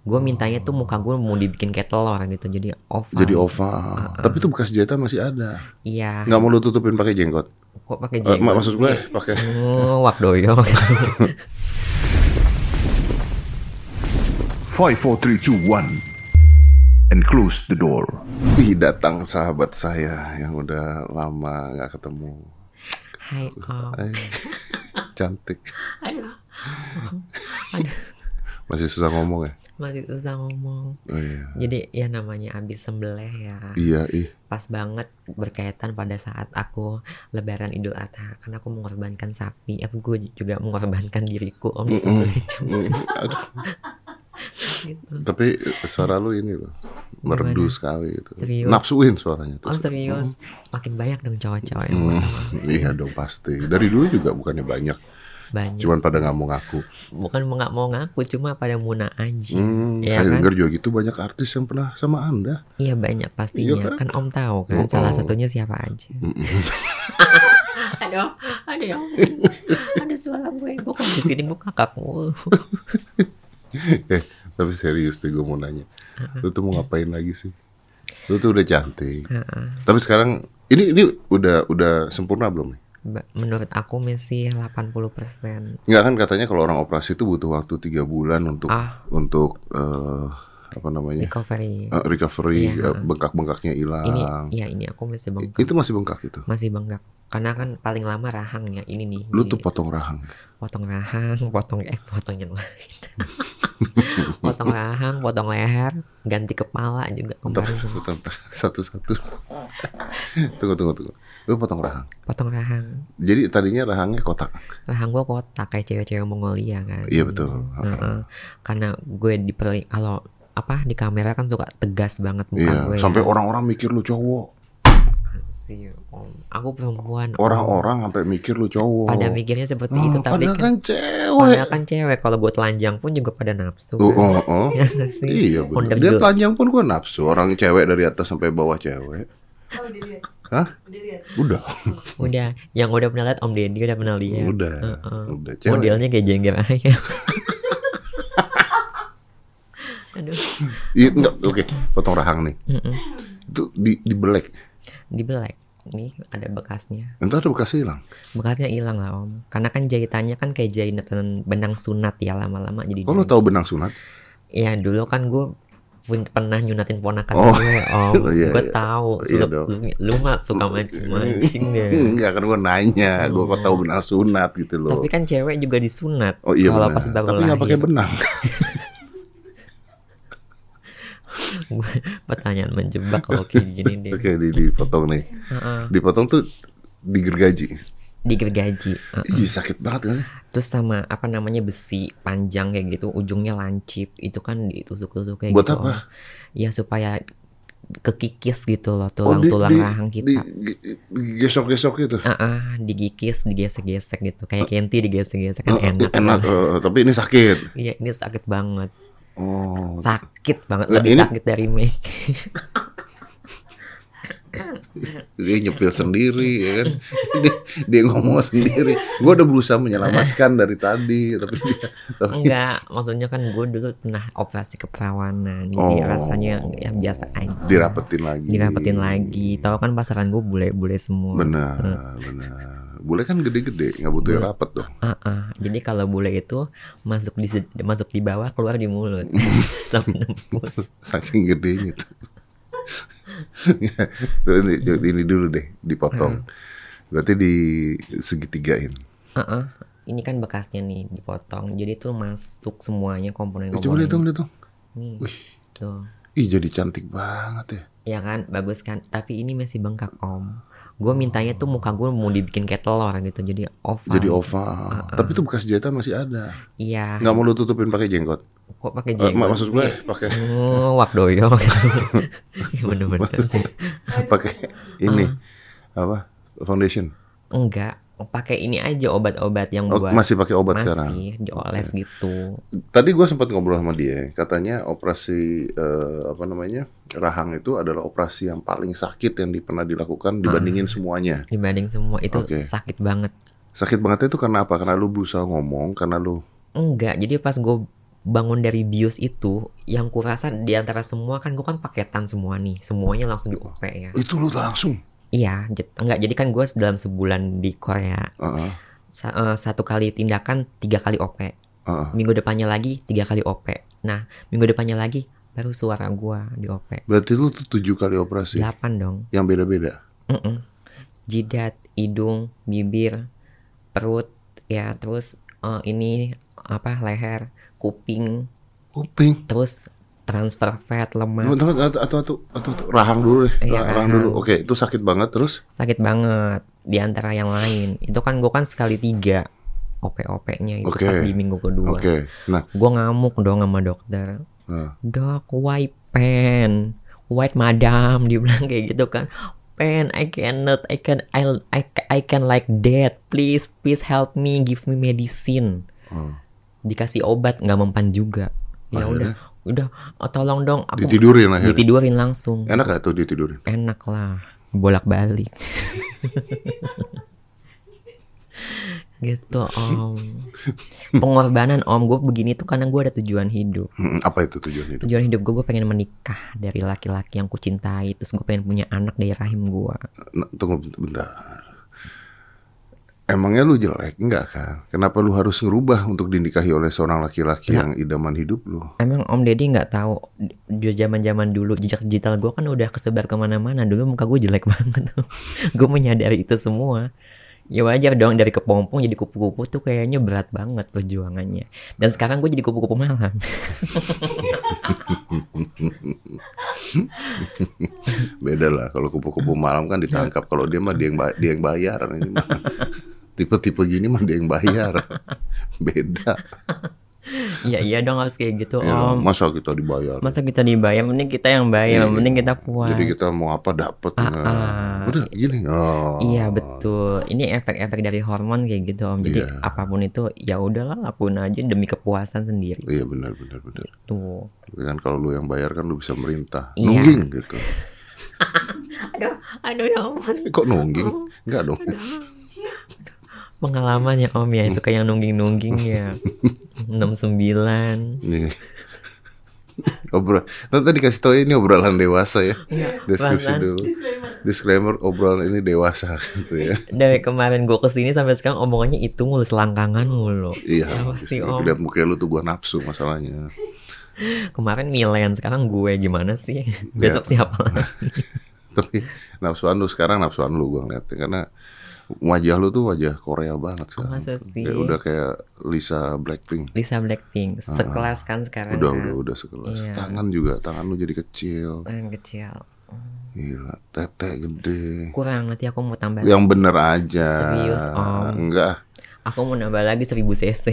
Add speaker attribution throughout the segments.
Speaker 1: gue mintanya tuh muka gue mau dibikin kayak telur gitu jadi oval
Speaker 2: Jadi oval. Tapi itu bekas jahatan masih ada.
Speaker 1: iya
Speaker 2: Nggak mau lu tutupin pakai Hmm. jenggot.
Speaker 1: kok pakai
Speaker 2: Eh,
Speaker 1: jenggot
Speaker 2: mak- maksud gue pakai
Speaker 1: Oh, wak doyong
Speaker 3: Five, four, three, two, one, and close the door.
Speaker 2: Wih, datang sahabat saya yang udah lama nggak ketemu.
Speaker 1: hai om
Speaker 2: Hai. Cantik.
Speaker 1: aduh aduh
Speaker 2: Masih susah ngomong ya?
Speaker 1: masih susah ngomong
Speaker 2: Oh, iya.
Speaker 1: jadi ya namanya abis sembelih ya
Speaker 2: Iya, ih.
Speaker 1: pas banget berkaitan pada saat aku lebaran idul adha karena aku mengorbankan sapi aku gue juga mengorbankan diriku om di
Speaker 2: Mm-mm.
Speaker 1: sembelih juga
Speaker 2: Mm, aduh.
Speaker 1: gitu
Speaker 2: Tapi suara lu ini loh merdu
Speaker 1: Gimana?
Speaker 2: sekali gitu.
Speaker 1: Serius?
Speaker 2: Nafsuin suaranya tuh.
Speaker 1: Oh serius, makin banyak dong cowok-cowok yang
Speaker 2: Hmm,
Speaker 1: sama.
Speaker 2: iya dong pasti. Dari dulu juga bukannya banyak,
Speaker 1: banyak.
Speaker 2: cuman pada nggak mau ngaku.
Speaker 1: bukan mau nggak mau ngaku, cuma pada muna aja.
Speaker 2: Hmm,
Speaker 1: Iya kan?
Speaker 2: saya dengar juga gitu banyak artis yang pernah sama Anda.
Speaker 1: Iya banyak pastinya.
Speaker 2: Iya
Speaker 1: Kan Om tahu kan,
Speaker 2: Oh,
Speaker 1: salah
Speaker 2: oh.
Speaker 1: satunya siapa aja.
Speaker 2: Mm-mm.
Speaker 1: Aduh, aduh ya, aduh suara gue, gue kok di sini gue kakak mulu.
Speaker 2: eh, tapi serius tuh gue mau nanya. Lu tuh mau ngapain lagi sih? Lu tuh udah cantik. Tapi sekarang ini ini udah udah sempurna belum nih?
Speaker 1: Ba- Menurut aku masih 80
Speaker 2: Enggak kan katanya kalau orang operasi itu butuh waktu tiga bulan untuk
Speaker 1: Ah.
Speaker 2: untuk eh, apa namanya?
Speaker 1: recovery.
Speaker 2: Eh, recovery
Speaker 1: Iya.
Speaker 2: eh, bengkak-bengkaknya
Speaker 1: ini,
Speaker 2: hilang.
Speaker 1: ya ini aku masih
Speaker 2: I-
Speaker 1: bengkak,
Speaker 2: ah. Itu masih bengkak itu.
Speaker 1: masih bengkak. Karena kan paling lama rahangnya ini nih.
Speaker 2: Lu
Speaker 1: Jadi
Speaker 2: tuh potong rahang.
Speaker 1: potong rahang, potong eh potong yang lain. potong rahang, potong leher, ganti kepala juga
Speaker 2: Bentar,
Speaker 1: kemarin.
Speaker 2: bentar, bentar. satu-satu. tunggu, tunggu, tunggu. Lu potong rahang.
Speaker 1: Potong rahang.
Speaker 2: Jadi tadinya rahangnya kotak.
Speaker 1: Rahang Nah, gua kotak kayak cewek-cewek Mongolia kan.
Speaker 2: Iya, betul.
Speaker 1: Heeh. karena gue diperi kalau apa di kamera kan suka tegas banget muka
Speaker 2: Iya,
Speaker 1: gue. ya.
Speaker 2: sampai orang-orang mikir lu cowok.
Speaker 1: Sih, om. Aku perempuan. om.
Speaker 2: Orang-orang sampai mikir lu cowok.
Speaker 1: pada mikirnya seperti itu
Speaker 2: Ah,
Speaker 1: tapi
Speaker 2: padahal
Speaker 1: kan,
Speaker 2: kan cewek.
Speaker 1: padahal kan cewek kalau gue telanjang pun juga pada nafsu.
Speaker 2: Oh,
Speaker 1: kan.
Speaker 2: oh, oh.
Speaker 1: Iya nggak sih?
Speaker 2: Iya
Speaker 1: Ondel
Speaker 2: bener. Dia
Speaker 1: gel-
Speaker 2: telanjang pun gua nafsu. Orang cewek dari atas sampai bawah cewek.
Speaker 4: Oh, udah lihat.
Speaker 2: Hah?
Speaker 4: Udah lihat.
Speaker 2: Udah,
Speaker 1: Udah, yang udah pernah lihat Om Deddy udah pernah lihat.
Speaker 2: udah,
Speaker 1: Iya. Heeh.
Speaker 2: udah cewek.
Speaker 1: Modelnya kayak jengger ayam. Aduh,
Speaker 2: Iya, enggak, oke, potong rahang nih.
Speaker 1: mm-mm.
Speaker 2: Itu di di black.
Speaker 1: di black. Nih ada bekasnya.
Speaker 2: Entar ada bekas hilang.
Speaker 1: Bekasnya hilang lah om. Karena kan jahitannya kan kayak jahitan benang sunat ya lama-lama jadi.
Speaker 2: Kok lo
Speaker 1: jahit.
Speaker 2: tahu benang sunat?
Speaker 1: Ya dulu kan gue pun pernah nyunatin ponakan
Speaker 2: Oh.
Speaker 1: gue om.
Speaker 2: Oh, iya,
Speaker 1: gue
Speaker 2: iya.
Speaker 1: tahu.
Speaker 2: Iya
Speaker 1: Sulap-
Speaker 2: dong.
Speaker 1: lu, lu mah suka mancing-mancing deh.
Speaker 2: Enggak kan gua nanya, gua kok
Speaker 1: Iya.
Speaker 2: tahu benang sunat gitu loh.
Speaker 1: Tapi kan cewek juga disunat.
Speaker 2: oh iya
Speaker 1: Kalau
Speaker 2: benar.
Speaker 1: pas baru
Speaker 2: Tapi nggak pakai
Speaker 1: lahir.
Speaker 2: benang.
Speaker 1: Gua- Pertanyaan menjebak kalau kayak gini deh.
Speaker 2: Oke, di dipotong nih.
Speaker 1: Iya. Heeh.
Speaker 2: Dipotong tuh digergaji.
Speaker 1: Digergaji. Heeh.
Speaker 2: Iya sakit banget kan?
Speaker 1: eh, Terus sama apa namanya besi panjang kayak gitu, ujungnya lancip, itu kan ditusuk-tusuk kayak
Speaker 2: Buat
Speaker 1: gitu.
Speaker 2: apa?
Speaker 1: Om. Ya supaya kekikis gitu loh
Speaker 2: Oh, di-
Speaker 1: tulang-tulang
Speaker 2: di-
Speaker 1: rahang
Speaker 2: Di,
Speaker 1: kita.
Speaker 2: gesok-gesok gitu.
Speaker 1: Ah, ah, digikis, digesek-gesek gitu. Kayak kenti digesek-gesek kan
Speaker 2: Eh,
Speaker 1: enak.
Speaker 2: enak, eh, tapi ini sakit.
Speaker 1: Iya, ini sakit banget.
Speaker 2: Oh.
Speaker 1: Sakit banget,
Speaker 2: Lah,
Speaker 1: lebih
Speaker 2: ini-
Speaker 1: sakit dari make.
Speaker 2: dia nyepil sendiri ya kan dia, dia ngomong sendiri gue udah berusaha menyelamatkan dari tadi tapi dia tapi
Speaker 1: Enggak, maksudnya kan gue dulu pernah operasi keperawanan. Jadi
Speaker 2: Oh.
Speaker 1: rasanya ya biasa aja.
Speaker 2: dirapetin lagi
Speaker 1: Dirapetin lagi. Hmm. Tahu kan pasaran gue bule-bule semua.
Speaker 2: benar benar boleh kan gede-gede nggak butuh yang rapet dong
Speaker 1: Ah, ah. jadi kalau bule itu masuk di sed- masuk di bawah keluar di mulut sampai nembus.
Speaker 2: saking gedenya tuh Tuh, ini, ini dulu deh dipotong
Speaker 1: Hmm.
Speaker 2: berarti di segitigain
Speaker 1: Ah, ah. Ini kan bekasnya nih dipotong, jadi tuh masuk semuanya
Speaker 2: Eh, coba
Speaker 1: komponen-komponen.
Speaker 2: lihat dong lihat dong
Speaker 1: Nih, gitu.
Speaker 2: Wih.
Speaker 1: tuh.
Speaker 2: ih jadi cantik banget ya
Speaker 1: Ya kan, bagus kan. Tapi ini masih bengkak om. Gue mintanya tuh muka gue mau dibikin kayak telur gitu, jadi oval.
Speaker 2: jadi oval tapi itu bekas jahitan masih ada
Speaker 1: Iya.
Speaker 2: nggak mau lu tutupin pakai jenggot,
Speaker 1: Kok pakai
Speaker 2: Eh,
Speaker 1: jenggot?
Speaker 2: mak- maksud gue pakai
Speaker 1: Oh, wak doyong. Ya, Bener-bener.
Speaker 4: Oh,
Speaker 2: pakai ini apa foundation
Speaker 1: Enggak, pakai ini aja obat-obat yang
Speaker 2: Oh,
Speaker 1: buat
Speaker 2: masih pakai obat sekarang
Speaker 1: masih dioles gitu.
Speaker 2: tadi gue sempat ngobrol sama dia katanya operasi eh, apa namanya rahang itu adalah operasi yang paling sakit yang di- pernah dilakukan dibandingin semuanya
Speaker 1: Dibanding semua itu
Speaker 2: Oke.
Speaker 1: sakit banget.
Speaker 2: sakit banget itu karena apa karena lu berusaha ngomong karena lu
Speaker 1: Enggak, jadi pas gue bangun dari bius itu yang kurasa di antara semua kan gue kan paketan semua nih semuanya langsung di UP ya
Speaker 2: Itu lu langsung.
Speaker 1: iya j- enggak jadi kan gue dalam sebulan di Korea
Speaker 2: Heeh.
Speaker 1: sa- eh, satu kali tindakan tiga kali OP
Speaker 2: Heeh.
Speaker 1: minggu depannya lagi tiga kali OP nah minggu depannya lagi baru suara gua di OP
Speaker 2: Berarti lu tuh tujuh kali operasi
Speaker 1: delapan dong
Speaker 2: yang beda-beda.
Speaker 1: Mm-mm. jidat hidung bibir perut ya terus eh, ini apa leher kuping
Speaker 2: Kuping.
Speaker 1: terus transfer fat lemak
Speaker 2: Teman-teman atau atau atau atau atau- rahang dulu deh.
Speaker 1: Iya,
Speaker 2: rahang
Speaker 1: rahang.
Speaker 2: dulu. Oke, itu sakit banget terus.
Speaker 1: sakit banget di antara yang lain itu kan gue kan sekali tiga OP-OP-nya itu
Speaker 2: Oke.
Speaker 1: pas di minggu kedua
Speaker 2: Oke. Nah,
Speaker 1: gue ngamuk dong sama dokter
Speaker 2: nah.
Speaker 1: dok white pen white madam dia bilang kayak gitu kan pen I cannot I can I I, I can like that please please help me give me medicine
Speaker 2: Oh.
Speaker 1: dikasih obat nggak mempan juga ya
Speaker 2: Akhirnya?
Speaker 1: udah udah oh, tolong dong aku
Speaker 2: ditidurin akhirnya.
Speaker 1: ditidurin langsung
Speaker 2: Enak gak tuh ditidurin?
Speaker 1: enak lah bolak balik gitu om pengorbanan om gue begini tuh karena gue ada tujuan hidup
Speaker 2: Hmm, Apa itu tujuan hidup?
Speaker 1: tujuan hidup gue gue pengen menikah dari laki-laki yang kucintai terus gue pengen punya anak dari rahim gue
Speaker 2: Nah, tunggu bent- bentar. Emangnya lu jelek enggak kan? Kenapa lu harus ngerubah untuk dinikahi oleh seorang laki-laki yang idaman hidup lu?
Speaker 1: emang om deddy nggak tahu di zaman zaman dulu jejak digital gue kan udah kesebar kemana-mana dulu muka gue jelek banget gue menyadari itu semua ya wajar dong dari kepompong jadi kupu-kupu tuh kayaknya berat banget perjuangannya dan sekarang gue jadi kupu-kupu malam
Speaker 2: Beda lah kalau kupu-kupu malam kan ditangkap. Kalau dia mah dia yang ba- dia yang bayar. Ini mah. Tipe-tipe gini mah dia yang bayar. Beda.
Speaker 1: ya iya dong harus kayak gitu
Speaker 2: Ya,
Speaker 1: om
Speaker 2: masa kita dibayar?
Speaker 1: masa kita dibayar mending kita yang bayar
Speaker 2: Iya.
Speaker 1: mending kita puas
Speaker 2: Jadi kita mau apa dapat.
Speaker 1: Ah,
Speaker 2: Nah,
Speaker 1: ah.
Speaker 2: Udah gini. Oh.
Speaker 1: Iya betul. Ini efek-efek dari hormon kayak gitu om. Jadi
Speaker 2: Iya.
Speaker 1: apapun itu ya udahlah lakuin aja demi kepuasan sendiri
Speaker 2: Iya benar benar benar.
Speaker 1: tuh.
Speaker 2: Kan kalau lu yang bayar kan lu bisa merintah.
Speaker 1: Iya.
Speaker 2: Nungging gitu.
Speaker 1: Aduh, aduh ya ampun.
Speaker 2: Eh, Kok nungging? Enggak dong.
Speaker 1: Pengalaman ya om
Speaker 2: Hmm.
Speaker 1: ya suka yang nungging-nungging ya. 69.
Speaker 2: Nih. Obrol. Tadi kasih tau ya, ini obrolan dewasa ya. Deskripsi
Speaker 1: perasaan.
Speaker 2: dulu. Disclaimer obrolan ini dewasa gitu ya.
Speaker 1: Dari kemarin gue kesini sampai sekarang omongannya itu mulu selangkangan mulu.
Speaker 2: Iya.
Speaker 1: Apa sih, Om?
Speaker 2: justru Lihat muka lu tuh gua nafsu masalahnya.
Speaker 1: Kemarin Milen, sekarang gue gimana sih?
Speaker 2: Iya.
Speaker 1: Besok siapa
Speaker 2: Ah.
Speaker 1: lagi?
Speaker 2: Tapi nafsuan lu sekarang nafsuan lu gua ngeliatnya karena wajah lu tuh wajah Korea banget
Speaker 1: Oh,
Speaker 2: sekarang.
Speaker 1: masa sih?
Speaker 2: Kayak udah kayak Lisa Blackpink.
Speaker 1: Lisa Blackpink, sekelas kan sekarang.
Speaker 2: Ah. Udah
Speaker 1: kan?
Speaker 2: udah udah sekelas.
Speaker 1: Iya.
Speaker 2: Tangan juga, tangan lu jadi kecil.
Speaker 1: Yang kecil.
Speaker 2: Gila, tete gede.
Speaker 1: Kurang nanti aku mau tambah.
Speaker 2: Yang bener aja.
Speaker 1: Serius, Om.
Speaker 2: Enggak.
Speaker 1: Aku mau nambah lagi 1000 cc.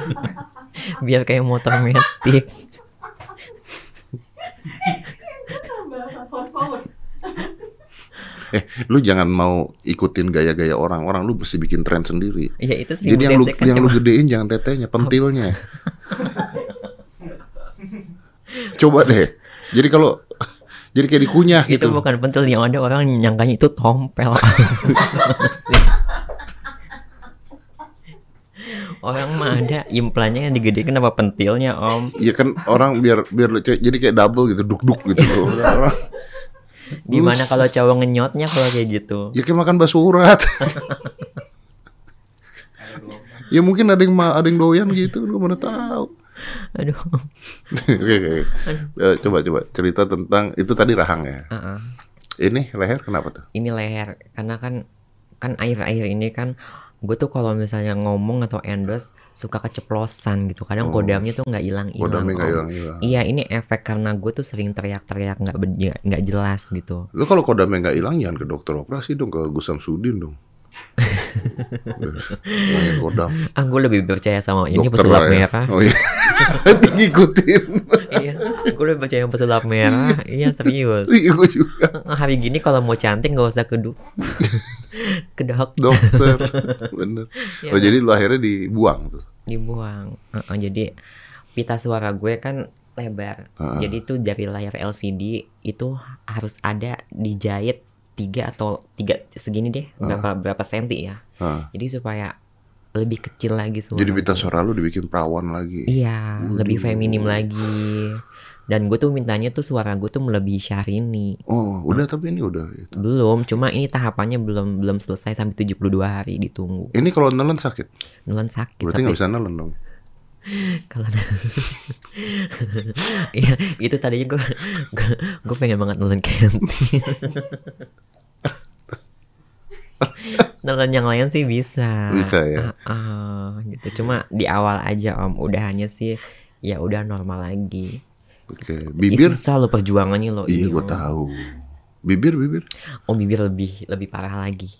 Speaker 1: Biar kayak motor metik.
Speaker 2: Eh, lu jangan mau ikutin gaya-gaya orang. Orang lu mesti bikin tren sendiri.
Speaker 1: Ya itu 1000
Speaker 2: Jadi yang lu
Speaker 1: cc kan
Speaker 2: yang lu
Speaker 1: cuma
Speaker 2: gedein jangan tetenya, pentilnya. Coba deh. Jadi kalau jadi kayak dikunyah
Speaker 1: itu
Speaker 2: gitu.
Speaker 1: bukan pentil yang ada orang nyangkanya itu tompel. orang mah ada implannya yang digede kenapa pentilnya om?
Speaker 2: Iya kan orang biar biar lu- jadi kayak double gitu, duk-duk gitu.
Speaker 1: Iya,
Speaker 2: Orang,
Speaker 1: Gimana kalau cowok ngenyotnya kalau kayak gitu?
Speaker 2: ya kayak makan bakso urat. ya mungkin ada yang ma- ada yang doyan gitu, lu mana tahu.
Speaker 1: Aduh.
Speaker 2: Oke, oke. oke. Eh, coba coba cerita tentang itu tadi rahang ya.
Speaker 1: Ah, ah.
Speaker 2: Ini leher kenapa tuh?
Speaker 1: Ini leher karena kan kan akhir-akhir ini kan gue tuh kalau misalnya ngomong atau endorse suka keceplosan gitu. Kadang
Speaker 2: Oh.
Speaker 1: kodamnya tuh nggak hilang-hilang.
Speaker 2: Kodamnya nggak
Speaker 1: Om.
Speaker 2: hilang-hilang.
Speaker 1: Iya ini efek karena gue tuh sering teriak-teriak nggak ben- nggak jelas gitu.
Speaker 2: Lu kalau kodamnya nggak hilang jangan ke dokter operasi dong, ke Gus Samsudin dong. Main kodam.
Speaker 1: Ah gue lebih percaya sama ini
Speaker 2: dokter
Speaker 1: pesulap
Speaker 2: lah ya.
Speaker 1: merah.
Speaker 2: Oh iya. Ngikutin.
Speaker 1: iya, gue lebih percaya sama pesulap merah. iya serius.
Speaker 2: Iya, gua juga
Speaker 1: Hari gini kalau mau cantik nggak usah ke du- ke dok
Speaker 2: dokter. Bener.
Speaker 1: Iya,
Speaker 2: Oh jadi lu akhirnya dibuang tuh.
Speaker 1: dibuang. Heeh, jadi pita suara gue kan lebar.
Speaker 2: Heeh.
Speaker 1: Jadi tuh dari layar LCD itu harus ada dijahit tiga atau tiga segini deh berapa berapa senti ya.
Speaker 2: Hah.
Speaker 1: Jadi supaya lebih kecil lagi semua.
Speaker 2: Jadi bintang suara lu dibikin perawan lagi.
Speaker 1: Iya, lebih feminim lagi. Dan gue tuh mintanya tuh suara gue tuh melebihi Syahrini.
Speaker 2: Oh, udah tapi ini udah itu.
Speaker 1: Belum, cuma ini tahapannya belum belum selesai sampai 72 hari ditunggu.
Speaker 2: Ini kalau nelen sakit,
Speaker 1: Nelan sakit
Speaker 2: berarti nggak bisa nelen dong.
Speaker 1: Nah. kalau Iya, itu tadinya gue gue pengen banget nelen Kenty. nelen yang lain sih bisa.
Speaker 2: Bisa ya?
Speaker 1: Heeh, gitu. Cuma di awal aja Om, udahannya sih ya udah normal lagi.
Speaker 2: Oke,
Speaker 1: Ih,
Speaker 2: bibir.
Speaker 1: susah lo perjuangannya lo.
Speaker 2: Iya,
Speaker 1: ini,
Speaker 2: gue
Speaker 1: Om.
Speaker 2: tahu. Bibir, bibir.
Speaker 1: Oh bibir lebih lebih parah lagi.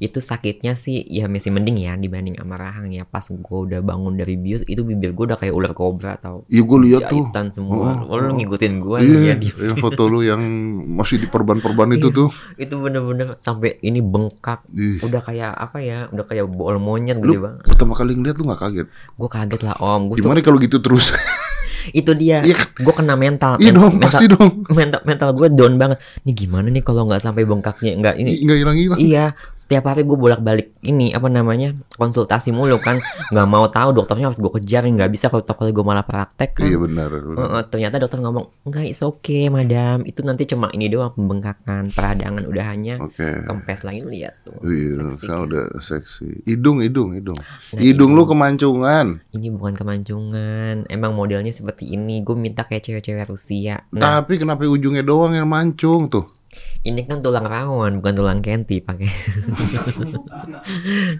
Speaker 1: Itu sakitnya sih ya masih mending ya dibanding sama rahang ya. Pas gue udah bangun dari bius itu bibir gue udah kayak ular kobra tau.
Speaker 2: Iya, gue lihat tuh.
Speaker 1: Jahitan semua. Oh,
Speaker 2: Oh,
Speaker 1: lu
Speaker 2: oh.
Speaker 1: ngikutin gue
Speaker 2: Iya,
Speaker 1: ya. di-
Speaker 2: iya, foto lu yang masih di perban-perban itu
Speaker 1: Iya.
Speaker 2: tuh.
Speaker 1: Itu bener-bener sampai ini bengkak.
Speaker 2: Ih,
Speaker 1: Udah kayak apa ya? Udah kayak bol monyet
Speaker 2: Lu
Speaker 1: gede banget.
Speaker 2: pertama kali ngeliat lu nggak kaget?
Speaker 1: Gue kaget lah om. Gua tuh-
Speaker 2: Gimana kalau gitu terus?
Speaker 1: itu dia.
Speaker 2: Iya.
Speaker 1: Gue kena mental.
Speaker 2: Iya
Speaker 1: Men-
Speaker 2: dong,
Speaker 1: mental,
Speaker 2: pasti dong.
Speaker 1: mental mental gue down banget. Nih gimana nih kalau nggak sampai bengkaknya nggak ini
Speaker 2: Ih, Nggak hilang-hilang.
Speaker 1: Iya, setiap hari gue bolak-balik ini apa namanya konsultasi mulu kan, nggak mau tahu dokternya harus gue kejar, nggak bisa kalau kalau gue malah praktek kan.
Speaker 2: Iya benar. benar.
Speaker 1: Heeh, ternyata dokter ngomong enggak it's okay madam itu nanti cuma ini doang pembengkakan peradangan udah hanya
Speaker 2: Oke.
Speaker 1: kempes lagi lu lihat tuh
Speaker 2: Oh, Iya,
Speaker 1: Seksi.
Speaker 2: sekarang udah seksi. Hidung, hidung, hidung.
Speaker 1: Nah,
Speaker 2: Hidung
Speaker 1: ini-
Speaker 2: lu kemancungan.
Speaker 1: ini bukan kemancungan emang modelnya seperti ini gue minta kayak cewek-cewek Rusia nah
Speaker 2: Tapi kenapa ujungnya doang yang mancung tuh?
Speaker 1: ini kan tulang rawan bukan tulang kenti pakai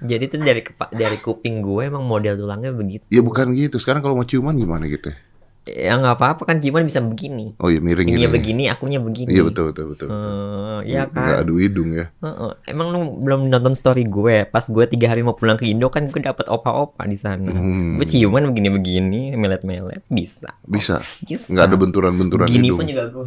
Speaker 1: jadi tuh dari kepa- dari kuping gue emang model tulangnya begitu
Speaker 2: Ya bukan gitu. Sekarang kalau mau ciuman gimana gitu? ya?
Speaker 1: Ya nggak apa-apa kan cuman bisa begini.
Speaker 2: Oh iya miring
Speaker 1: Ininya
Speaker 2: gini.
Speaker 1: begini, akunya begini.
Speaker 2: Iya betul betul betul. betul.
Speaker 1: Eh, ya
Speaker 2: Nggak
Speaker 1: kan.
Speaker 2: adu hidung ya.
Speaker 1: Heeh. Emang lu belum nonton story gue. Pas gue tiga hari mau pulang ke Indo kan gue dapat opa-opa di sana.
Speaker 2: Hmm.
Speaker 1: Gue ciuman begini-begini, melet-melet bisa. Oh,
Speaker 2: Bisa.
Speaker 1: Bisa.
Speaker 2: Nggak ada benturan-benturan
Speaker 1: Gini
Speaker 2: hidung.
Speaker 1: pun juga gue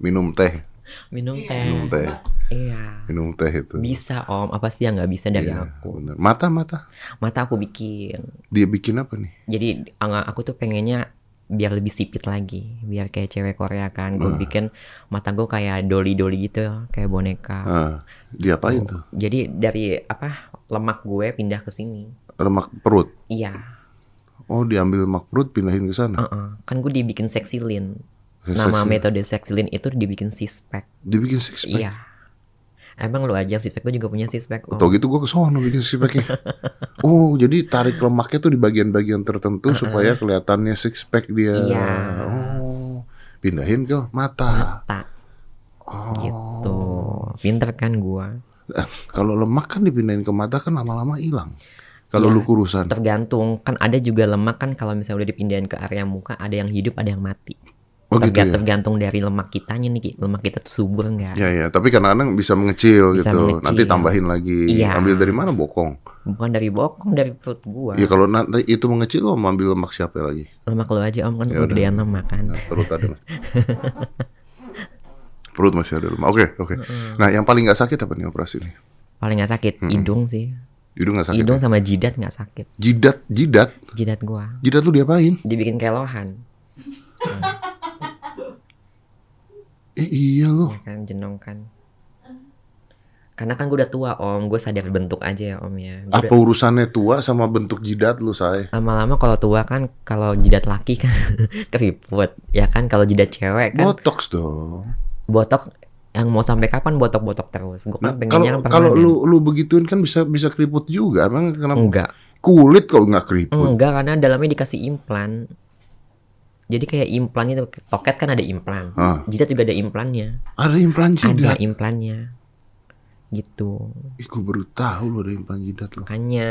Speaker 2: Minum teh,
Speaker 1: minum teh.
Speaker 2: Iya. minum teh,
Speaker 1: Iya.
Speaker 2: minum teh itu.
Speaker 1: Bisa om, apa sih yang nggak bisa dari
Speaker 2: Iya,
Speaker 1: aku?
Speaker 2: benar. Mata mata.
Speaker 1: Mata aku bikin.
Speaker 2: Dia bikin apa nih?
Speaker 1: Jadi ang- aku tuh pengennya biar lebih sipit lagi, biar kayak cewek Korea kan. Gue bikin mata gue kayak doli-doli gitu, kayak boneka.
Speaker 2: Ah, dia
Speaker 1: Oh.
Speaker 2: apain tuh?
Speaker 1: Jadi dari apa lemak gue pindah ke sini.
Speaker 2: Lemak perut.
Speaker 1: Iya.
Speaker 2: Oh, diambil lemak perut pindahin ke sana.
Speaker 1: heeh. Kan gue dibikin seksilin.
Speaker 2: Seksi.
Speaker 1: Nama metode seksilin itu dibikin sispek.
Speaker 2: Dibikin six pack.
Speaker 1: Iya. Emang lu aja sispek gue juga punya Oh, sispek. Om.
Speaker 2: Atau gitu gue ke sono bikin six packnya. oh, jadi tarik lemaknya tuh di bagian-bagian tertentu supaya kelihatannya six pack dia.
Speaker 1: Iya.
Speaker 2: Oh, pindahin ke mata.
Speaker 1: Tak
Speaker 2: Oh.
Speaker 1: gitu. Pinter kan gue.
Speaker 2: Eh, Kalau lemak kan dipindahin ke mata kan lama-lama hilang. Kalau
Speaker 1: Iya.
Speaker 2: lu kurusan.
Speaker 1: Tergantung kan ada juga lemak kan kalau misalnya udah dipindahin ke area muka ada yang hidup ada yang mati.
Speaker 2: Oh gitu
Speaker 1: Terga-
Speaker 2: ya.
Speaker 1: Tergantung dari lemak kitanya nih Ki. lemak kita tuh subur nggak?
Speaker 2: Ya ya, tapi kadang-kadang bisa mengecil
Speaker 1: Bisa
Speaker 2: gitu.
Speaker 1: mengecil.
Speaker 2: Nanti tambahin lagi.
Speaker 1: Iya.
Speaker 2: Ambil dari mana bokong?
Speaker 1: Bukan dari bokong dari perut gua.
Speaker 2: Ya kalau nanti itu mengecil lo mau ambil lemak siapa lagi?
Speaker 1: Lemak lu aja om kan
Speaker 2: Ya
Speaker 1: gua
Speaker 2: udah.
Speaker 1: gedean lemak kan.
Speaker 2: Nah, perut ada. Mas. perut masih ada lemak. Oke, oke. Nah, yang paling nggak sakit apa nih operasi ini?
Speaker 1: paling nggak sakit hidung sih
Speaker 2: Hidung nggak sakit.
Speaker 1: hidung
Speaker 2: ya?
Speaker 1: sama jidat nggak sakit
Speaker 2: Jidat, jidat.
Speaker 1: jidat gua
Speaker 2: Jidat lu diapain?
Speaker 1: dibikin kelohan
Speaker 2: Eh iya lu.
Speaker 1: ya kan jenong kan karena kan gua udah tua om gue sadar bentuk aja ya om ya Gua
Speaker 2: Apa
Speaker 1: udah-
Speaker 2: urusannya tua sama bentuk jidat lu, say?
Speaker 1: lama-lama kalau tua kan kalau jidat laki kan keriput ya kan kalau jidat cewek kan
Speaker 2: Botox dong.
Speaker 1: botok yang mau sampai kapan botok-botok terus gue
Speaker 2: Nah,
Speaker 1: kan pengennya
Speaker 2: kalau
Speaker 1: yang
Speaker 2: kalau
Speaker 1: permanen.
Speaker 2: lu lu begituin kan bisa bisa keriput juga. Emang kenapa?
Speaker 1: enggak
Speaker 2: Kulit kok nggak keriput.
Speaker 1: enggak karena dalamnya dikasih implan jadi kayak implan itu toket kan ada implan
Speaker 2: Ah.
Speaker 1: jidat juga ada implannya
Speaker 2: Ada
Speaker 1: ada
Speaker 2: implan jidat.
Speaker 1: implannya gitu
Speaker 2: Ih, gua baru tahu lu ada implan jidat lo.
Speaker 1: makanya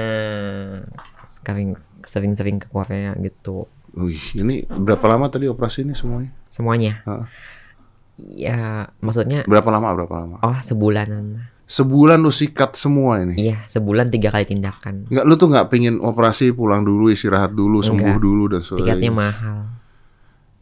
Speaker 1: sering sering-sering ke Korea gitu
Speaker 2: Wih, ini berapa lama tadi operasi ini semuanya?
Speaker 1: semuanya
Speaker 2: Heeh.
Speaker 1: ya maksudnya
Speaker 2: Berapa lama? Berapa lama?
Speaker 1: oh sebulanan
Speaker 2: Sebulan lu sikat semua ini.
Speaker 1: iya sebulan tiga kali tindakan
Speaker 2: Enggak, lu tuh nggak pingin operasi pulang dulu, istirahat dulu, sembuh
Speaker 1: Nggak.
Speaker 2: dulu dan sebagainya.
Speaker 1: tiketnya mahal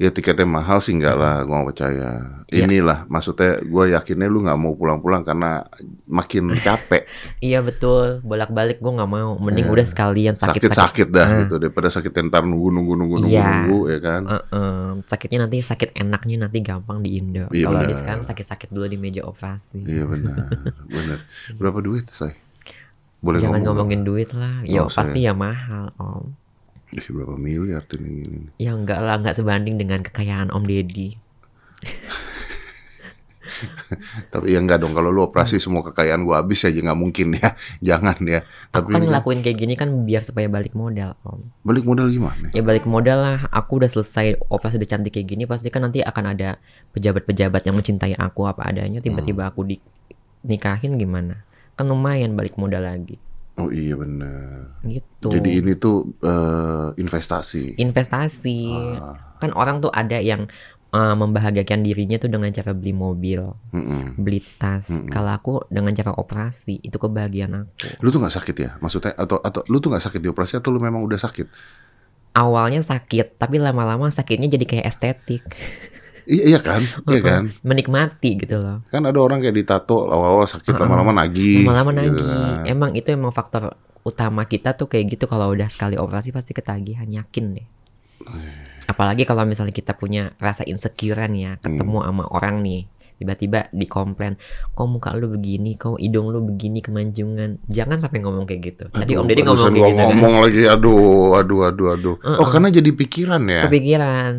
Speaker 2: Ya tiketnya mahal sih enggak lah, gua nggak percaya.
Speaker 1: Iya.
Speaker 2: Inilah maksudnya gua yakinnya lu nggak mau pulang-pulang karena makin capek.
Speaker 1: iya betul bolak-balik gue nggak mau mending udah sekalian sakit-sakit
Speaker 2: Eh. Sakit-sakit dah
Speaker 1: Ah.
Speaker 2: gitu daripada sakit ntar nunggu nunggu nunggu nunggu
Speaker 1: Iya.
Speaker 2: nunggu ya kan.
Speaker 1: Heeh, sakitnya nanti sakit enaknya nanti gampang di Indo
Speaker 2: Iya,
Speaker 1: kalau di
Speaker 2: benar.
Speaker 1: sekarang sakit-sakit dulu di meja operasi
Speaker 2: Iya benar, benar. Berapa duit, say? Boleh
Speaker 1: Jangan
Speaker 2: ngomong
Speaker 1: ngomongin duit lah. Ya
Speaker 2: Nggak usah
Speaker 1: pasti ya mahal, Om.
Speaker 2: Ih, berapa miliar tuh ini, ini.
Speaker 1: Ya enggak lah, enggak sebanding dengan kekayaan Om Deddy.
Speaker 2: Tapi ya enggak dong kalau lu operasi
Speaker 1: Hmm.
Speaker 2: semua kekayaan gua habis aja nggak mungkin ya. Jangan ya.
Speaker 1: Aku
Speaker 2: Tapi
Speaker 1: kan
Speaker 2: ini kan
Speaker 1: ngelakuin kayak gini kan biar supaya balik modal, Om.
Speaker 2: balik modal gimana?
Speaker 1: Ya balik modal lah, aku udah selesai operasi udah cantik kayak gini, pasti kan nanti akan ada pejabat-pejabat yang mencintai aku apa adanya,
Speaker 2: Hmm.
Speaker 1: tiba-tiba aku dinikahin gimana? Kan lumayan balik modal lagi.
Speaker 2: Oh iya bener.
Speaker 1: Gitu.
Speaker 2: Jadi ini tuh eh, investasi.
Speaker 1: Iya. investasi.
Speaker 2: Ah.
Speaker 1: Kan orang tuh ada yang eh, membahagiakan dirinya tuh dengan cara beli mobil,
Speaker 2: Mm-mm.
Speaker 1: beli tas. Kalau aku dengan cara operasi, itu kebahagiaan aku.
Speaker 2: Lu tuh nggak sakit ya? Maksudnya atau atau lu tuh nggak sakit di operasi atau lu memang udah sakit?
Speaker 1: Awalnya sakit, tapi lama-lama sakitnya jadi kayak estetik.
Speaker 2: Iya, iya kan? Iya
Speaker 1: Uh-uh.
Speaker 2: kan?
Speaker 1: Menikmati gitu loh.
Speaker 2: Kan ada orang kayak ditato awal-awal sakit lama-lama
Speaker 1: Uh-uh.
Speaker 2: nagih.
Speaker 1: Lama-lama nagih.
Speaker 2: gitu kan.
Speaker 1: Emang itu emang faktor utama kita tuh kayak gitu kalau udah sekali operasi pasti ketagihan, yakin deh.
Speaker 2: Eh.
Speaker 1: Apalagi kalau misalnya kita punya rasa insecurean ya, ketemu
Speaker 2: Hmm.
Speaker 1: sama orang nih, tiba-tiba dikomplain, kok muka lu begini, kok hidung lu begini kemanjungan. Jangan sampai ngomong kayak gitu. Tadi Om
Speaker 2: Aduh,
Speaker 1: Deddy ngomong
Speaker 2: barusan
Speaker 1: kayak
Speaker 2: gua
Speaker 1: gitu. Uh-uh. kan.
Speaker 2: ngomong lagi aduh aduh aduh aduh. Oh, karena jadi pikiran ya.
Speaker 1: Kepikiran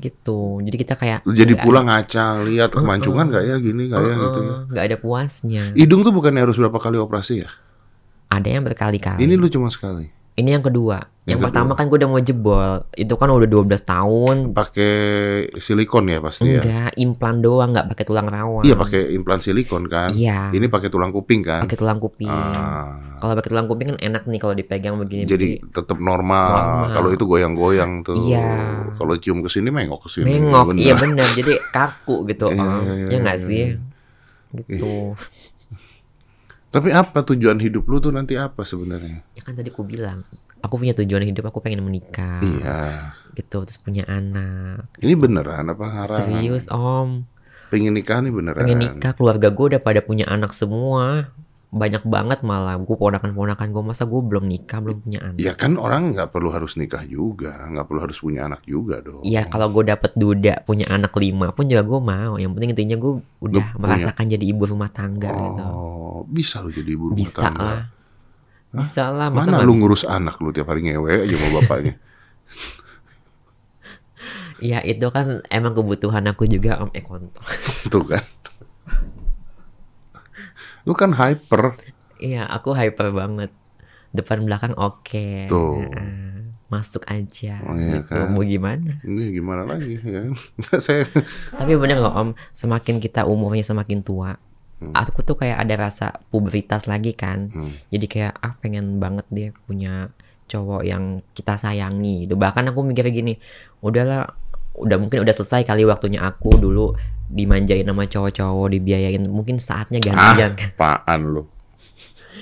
Speaker 1: gitu. Jadi kita kayak
Speaker 2: Jadi
Speaker 1: nggak-
Speaker 2: pulang ngaca, lihat
Speaker 1: Uh-uh.
Speaker 2: kemanjungan nggak ya gini nggak ya
Speaker 1: Heeh,
Speaker 2: gitu ya.
Speaker 1: nggak ada puasnya.
Speaker 2: Hidung tuh bukannya harus berapa kali operasi ya?
Speaker 1: Ada yang berkali-kali.
Speaker 2: Ini lu cuma sekali.
Speaker 1: Ini yang kedua. Yang,
Speaker 2: Yang
Speaker 1: pertama kan gue udah mau jebol. Itu kan udah 12 tahun.
Speaker 2: Pakai silikon ya pasti ya.
Speaker 1: Enggak, implan doang, nggak pakai tulang rawan.
Speaker 2: Iya pakai implan silikon kan.
Speaker 1: Iya.
Speaker 2: Ini pakai tulang kuping kan.
Speaker 1: Pakai tulang kuping.
Speaker 2: Ah,
Speaker 1: Kalau pakai tulang kuping kan enak nih kalau dipegang begini.
Speaker 2: jadi tetap normal.
Speaker 1: Iya, Normal.
Speaker 2: Kalau itu goyang-goyang tuh.
Speaker 1: Iya.
Speaker 2: Kalau cium ke sini mengok ke sini.
Speaker 1: mengok.
Speaker 2: Bener.
Speaker 1: Iya benar. Jadi kaku gitu. Om.
Speaker 2: Iya, iya, iya,
Speaker 1: ya nggak
Speaker 2: iya,
Speaker 1: sih?
Speaker 2: iya.
Speaker 1: Gitu.
Speaker 2: Tapi apa tujuan hidup lu tuh nanti apa sebenarnya?
Speaker 1: Ya kan tadi aku bilang, aku punya tujuan hidup, aku pengen menikah.
Speaker 2: Iya.
Speaker 1: Gitu, terus punya anak.
Speaker 2: Ini beneran apa ngarang?
Speaker 1: Serius, Om.
Speaker 2: Pengen nikah nih beneran.
Speaker 1: pengen nikah keluarga gue udah pada punya anak semua banyak banget malah gue ponakan ponakan gue masa gue belum nikah belum punya anak Iya,
Speaker 2: Ya kan orang nggak perlu harus nikah juga, nggak perlu harus punya anak juga dong.
Speaker 1: Iya kalau gue dapet duda punya anak lima pun juga gue mau yang penting intinya gue udah
Speaker 2: punya.
Speaker 1: merasakan jadi ibu rumah tangga gitu
Speaker 2: Oh, bisa lu jadi ibu rumah
Speaker 1: bisa
Speaker 2: tangga.
Speaker 1: lah bisa lah masa
Speaker 2: Mana
Speaker 1: nggak
Speaker 2: lu ngurus anak lu tiap hari ngewe aja sama bapaknya.
Speaker 1: ya itu kan emang kebutuhan aku juga om Eh, ekonto
Speaker 2: Tuh kan. Lu kan hyper.
Speaker 1: iya aku hyper banget depan belakang oke
Speaker 2: Tuh.
Speaker 1: Heeh. masuk aja
Speaker 2: Oh, iya
Speaker 1: gitu
Speaker 2: kan.
Speaker 1: mau gimana
Speaker 2: Ini gimana lagi ya? Saya
Speaker 1: Tapi bener nggak om, semakin kita umurnya semakin tua, aku tuh kayak ada rasa pubertas lagi kan.
Speaker 2: Hmm.
Speaker 1: Jadi kayak ah pengen banget dia punya cowok yang kita sayangi gitu. Bahkan aku mikir gini, udahlah, udah mungkin udah selesai kali waktunya aku dulu dimanjain sama cowok-cowok, dibiayain. Mungkin saatnya gantian kan.
Speaker 2: apaan lu?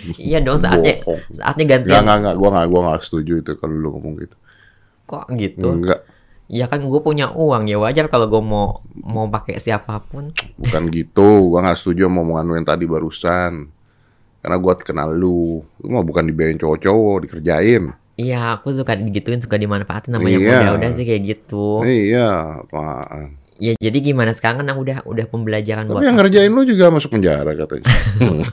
Speaker 1: Iya dong saatnya
Speaker 2: Bohong.
Speaker 1: saatnya
Speaker 2: Enggak
Speaker 1: gantian.
Speaker 2: enggak enggak gua enggak gua enggak setuju itu kalau lu ngomong gitu.
Speaker 1: Kok gitu?
Speaker 2: Enggak,
Speaker 1: Ya kan gue punya uang ya wajar kalau gue mau mau pakai siapapun.
Speaker 2: bukan gitu. Gua enggak setuju sama omongan lu yang tadi barusan. Karena gua kenal lu. Lu mah bukan dibiayain cowok-cowok, dikerjain.
Speaker 1: Iya, aku suka digituin, suka dimanfaatin namanya
Speaker 2: Iya.
Speaker 1: udah sih kayak gitu.
Speaker 2: Iya, apaan.
Speaker 1: Ya jadi gimana sekarang kan aku udah udah pembelajaran
Speaker 2: Tapi
Speaker 1: buat
Speaker 2: yang ngerjain lu juga masuk penjara katanya. Hmm.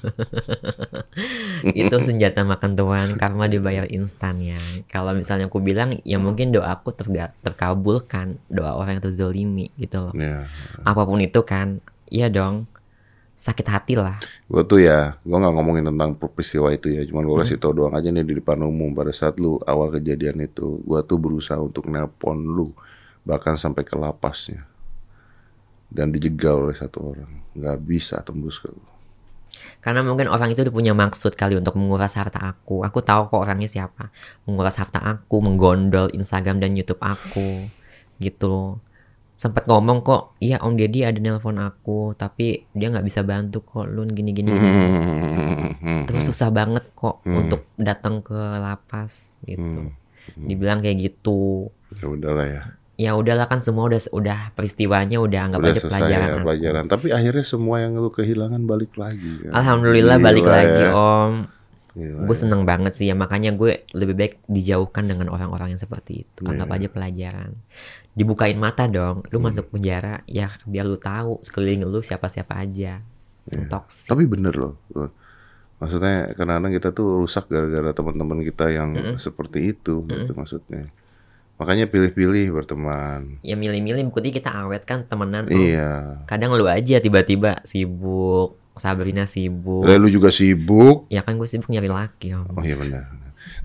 Speaker 1: itu senjata makan tuan karma dibayar instan ya. Kalau misalnya aku bilang ya mungkin doaku terga- terkabulkan doa orang yang terzolimi gitu loh.
Speaker 2: Iya.
Speaker 1: Apapun itu kan, iya dong sakit hati lah.
Speaker 2: Gue tuh ya, gue nggak ngomongin tentang peristiwa itu ya, cuman gue
Speaker 1: Hmm.
Speaker 2: kasih tau doang aja nih di depan umum pada saat lu awal kejadian itu, gue tuh berusaha untuk nelpon lu, bahkan sampai ke lapasnya, dan dijegal oleh satu orang, nggak bisa tembus ke lu.
Speaker 1: Karena mungkin orang itu udah punya maksud kali untuk menguras harta aku. Aku tahu kok orangnya siapa. Menguras harta aku, menggondol Instagram dan YouTube aku. Gitu loh. Sempat ngomong kok, iya Om Deddy ada nelpon aku, tapi dia nggak bisa bantu kok, lu gini-gini.
Speaker 2: Mm-hmm.
Speaker 1: Terus susah banget kok
Speaker 2: Mm.
Speaker 1: untuk datang ke lapas gitu. Dibilang kayak gitu.
Speaker 2: Ya udahlah ya,
Speaker 1: Ya udahlah kan semua udah udah peristiwanya udah anggap
Speaker 2: udah
Speaker 1: aja
Speaker 2: selesai ya
Speaker 1: pelajaran. aku.
Speaker 2: pelajaran. Tapi akhirnya semua yang lu kehilangan balik lagi. kan.
Speaker 1: Alhamdulillah balik
Speaker 2: Gila
Speaker 1: lagi oh.
Speaker 2: ya.
Speaker 1: Om.
Speaker 2: Gila
Speaker 1: gue seneng banget sih ya makanya gue lebih baik dijauhkan dengan orang-orang yang seperti itu
Speaker 2: Iya.
Speaker 1: anggap aja pelajaran dibukain mata dong lu
Speaker 2: Hmm.
Speaker 1: masuk penjara ya
Speaker 2: Iya.
Speaker 1: biar lu tahu sekeliling lu siapa siapa aja yang toksik
Speaker 2: Tapi bener loh, eh, Maksudnya kadang-kadang kita tuh rusak gara-gara teman-teman kita yang seperti itu gitu maksudnya. Makanya pilih-pilih berteman.
Speaker 1: Ya milih-milih berarti kita awet kan temenan. Oh,
Speaker 2: Iya.
Speaker 1: Kadang lu aja tiba-tiba sibuk, Sabrina sibuk.
Speaker 2: Lalu juga sibuk.
Speaker 1: Ya kan gue sibuk nyari laki. Om.
Speaker 2: Oh iya benar.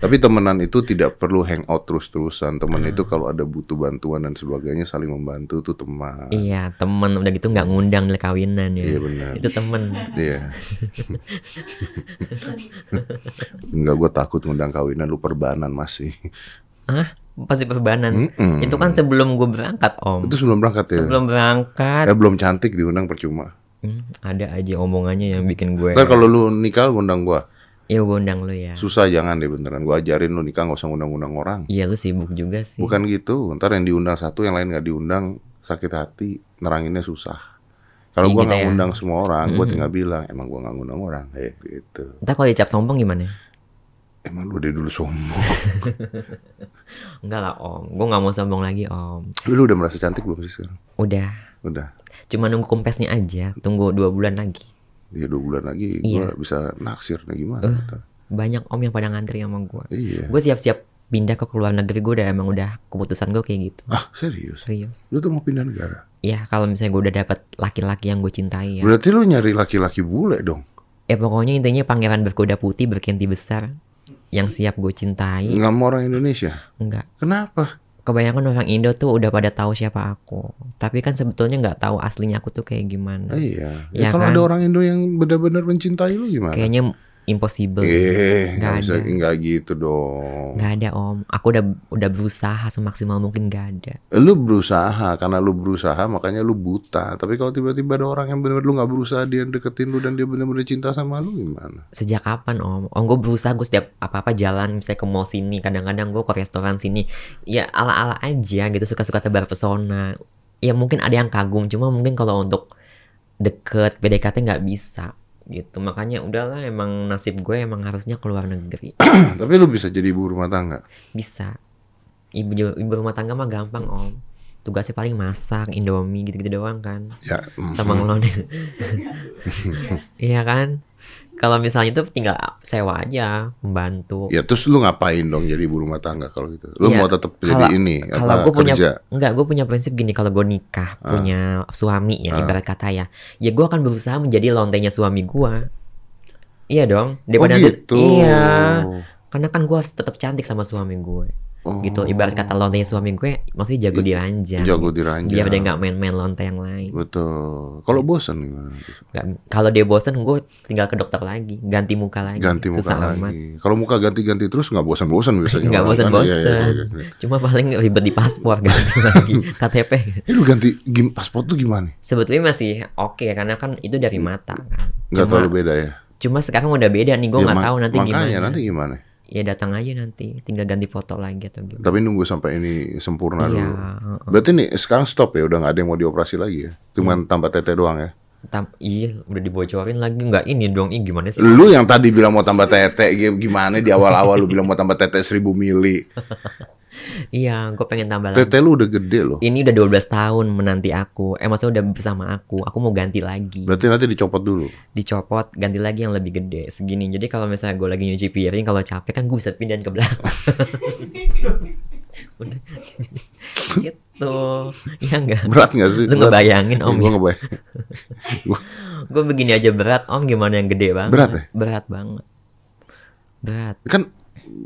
Speaker 2: Tapi temenan itu tidak perlu hangout terus-terusan. Temen itu kalau ada butuh bantuan dan sebagainya saling membantu tuh teman.
Speaker 1: Iya, temen udah gitu nggak ngundang dari kawinan ya.
Speaker 2: Iya benar.
Speaker 1: Itu temen.
Speaker 2: Iya. Enggak gue takut ngundang kawinan lu perbanan masih.
Speaker 1: Hah? Pasti perbanan.
Speaker 2: Mm-mm.
Speaker 1: Itu kan sebelum gue berangkat, Om.
Speaker 2: Hmm. Itu sebelum berangkat ya.
Speaker 1: Sebelum berangkat,
Speaker 2: Ya belum cantik diundang percuma.
Speaker 1: Hmm, ada aja omongannya yang bikin gue.
Speaker 2: Ntar kalau lu nikah lu ngundang gua.
Speaker 1: Iya, gue undang lu ya.
Speaker 2: Susah jangan deh beneran. Gua ajarin lu nikah nggak usah ngundang-ngundang orang.
Speaker 1: Iya, lu sibuk juga sih.
Speaker 2: Bukan gitu. Ntar yang diundang satu, yang lain nggak diundang sakit hati, neranginnya susah. Kalau
Speaker 1: Iya
Speaker 2: gua
Speaker 1: gitu
Speaker 2: nggak
Speaker 1: ya.
Speaker 2: ngundang semua orang, gua
Speaker 1: Mhm.
Speaker 2: tinggal bilang emang gua nggak ngundang orang, kayak gitu.
Speaker 1: Entar kalau dicap sombong gimana?
Speaker 2: Emang lu dari dulu sombong.
Speaker 1: Enggak lah, Om. Gue nggak mau sombong lagi, Om.
Speaker 2: Tapi lu udah merasa cantik belum sih sekarang?
Speaker 1: Udah.
Speaker 2: Udah.
Speaker 1: Cuma nunggu kempesnya aja. Tunggu dua bulan lagi.
Speaker 2: Ya dua bulan lagi gua
Speaker 1: Iya.
Speaker 2: bisa naksir nih gimana?
Speaker 1: Eh.
Speaker 2: ntar?
Speaker 1: Banyak Om yang pada ngantri sama gue.
Speaker 2: Iya.
Speaker 1: Gue siap-siap pindah ke luar negeri. Gue udah emang udah keputusan gue kayak gitu.
Speaker 2: Ah serius?
Speaker 1: Serius.
Speaker 2: Lu tuh mau pindah negara?
Speaker 1: Ya kalau misalnya gue udah dapat laki-laki yang gue cintai ya.
Speaker 2: Berarti lu nyari laki-laki bule dong?
Speaker 1: Ya pokoknya intinya pangeran berkuda putih berkenti besar yang siap gue cintai.
Speaker 2: Nggak mau orang Indonesia?
Speaker 1: Enggak.
Speaker 2: Kenapa?
Speaker 1: Kebanyakan orang Indo tuh udah pada tahu siapa aku. Tapi kan sebetulnya nggak tahu aslinya aku tuh kayak
Speaker 2: Ah,
Speaker 1: gimana.
Speaker 2: iya.
Speaker 1: Ya
Speaker 2: Ya, kalau
Speaker 1: kan?
Speaker 2: ada orang Indo yang benar-benar mencintai lu gimana?
Speaker 1: Kayaknya impossible.
Speaker 2: Eh, nggak
Speaker 1: Nggak
Speaker 2: bisa,
Speaker 1: ada.
Speaker 2: nggak gitu dong.
Speaker 1: Nggak ada om. Aku udah udah berusaha semaksimal mungkin nggak ada.
Speaker 2: Eh, lu berusaha karena lu berusaha makanya lu buta tapi kalau tiba-tiba ada orang yang benar-benar lu nggak berusaha dia deketin lu dan dia benar-benar cinta sama lu gimana
Speaker 1: Sejak kapan om? Om gue berusaha gue setiap apa-apa jalan misalnya ke mall sini. Kadang-kadang gue ke restoran sini. Ya ala-ala aja gitu suka-suka tebar pesona. Ya mungkin ada yang kagum. Cuma mungkin kalau untuk deket PDKT nggak bisa gitu. Makanya udahlah emang nasib gue emang harusnya keluar negeri.
Speaker 2: tapi lu bisa jadi ibu rumah tangga
Speaker 1: Bisa. Ibu, ibu rumah tangga mah gampang om. Tugasnya paling masak, indomie gitu-gitu doang kan.
Speaker 2: ya mm,
Speaker 1: sama ngelonel iya kan kalau misalnya itu tinggal sewa aja membantu
Speaker 2: ya terus lu ngapain dong jadi ibu rumah tangga kalau gitu lu
Speaker 1: Ya,
Speaker 2: mau tetap jadi
Speaker 1: kalau-
Speaker 2: ini
Speaker 1: kalau
Speaker 2: Iya, apa
Speaker 1: gue punya
Speaker 2: kerja
Speaker 1: enggak gue punya prinsip gini kalau gue nikah punya suami ya
Speaker 2: Ah.
Speaker 1: ibarat kata ya ya gue akan berusaha menjadi lontengnya suami gue iya dong daripada
Speaker 2: oh gitu
Speaker 1: iya karena kan gue harus tetap cantik sama suami gue
Speaker 2: Oh.
Speaker 1: gitu ibarat kata lontengnya suami gue maksudnya jago diranjang
Speaker 2: jago diranjang
Speaker 1: biar dia Iya, nggak main-main lonteng yang lain
Speaker 2: betul kalau bosan gimana
Speaker 1: Nggak- kalau dia bosen gue tinggal ke dokter lagi ganti muka lagi
Speaker 2: ganti muka
Speaker 1: susah amat
Speaker 2: lagi kalau muka ganti-ganti terus nggak bosan-bosan biasanya
Speaker 1: Nggak
Speaker 2: orang kan. Iya, iya,
Speaker 1: bosan-bosan.
Speaker 2: iya, iya.
Speaker 1: Cuma paling ribet di paspor ganti lagi KTP.
Speaker 2: Eh, lu ganti gim paspor tuh gimana?
Speaker 1: Sebetulnya masih oke karena kan itu dari mata kan.
Speaker 2: Gak
Speaker 1: Cuma,
Speaker 2: terlalu beda ya?
Speaker 1: cuma sekarang udah beda nih gue
Speaker 2: Ya,
Speaker 1: nggak
Speaker 2: mak-
Speaker 1: tahu nanti
Speaker 2: makanya,
Speaker 1: gimana.
Speaker 2: nanti gimana?
Speaker 1: Ya datang aja nanti, tinggal ganti foto lagi atau gimana.
Speaker 2: Tapi nunggu sampai ini
Speaker 1: Iya,
Speaker 2: sempurna dulu.
Speaker 1: heeh.
Speaker 2: Berarti nih sekarang stop ya, udah nggak ada yang mau dioperasi lagi ya?
Speaker 1: Iya.
Speaker 2: Cuman tambah tete doang ya?
Speaker 1: Tam- iya udah dibocorin lagi nggak ini dong, ini gimana sih?
Speaker 2: Lu yang tadi bilang mau tambah tete, gi- gimana di awal-awal lu bilang mau tambah tete 1000 mili.
Speaker 1: Iya, gue pengen tambah lagi.
Speaker 2: Tete lu udah gede loh.
Speaker 1: Ini udah 12 tahun menanti aku. Eh maksudnya udah bersama aku. Aku mau ganti lagi.
Speaker 2: Berarti nanti dicopot dulu.
Speaker 1: Dicopot, ganti lagi yang lebih gede. Segini. Jadi kalau misalnya gue lagi nyuci piring, kalau capek kan gue bisa pindahin ke belakang. Udah. gitu ya enggak
Speaker 2: Berat nggak sih?
Speaker 1: lu ngebayangin om
Speaker 2: Gue
Speaker 1: ya
Speaker 2: ngebayang.
Speaker 1: gue begini aja berat om gimana yang gede banget
Speaker 2: Berat ya?
Speaker 1: berat banget berat
Speaker 2: Kan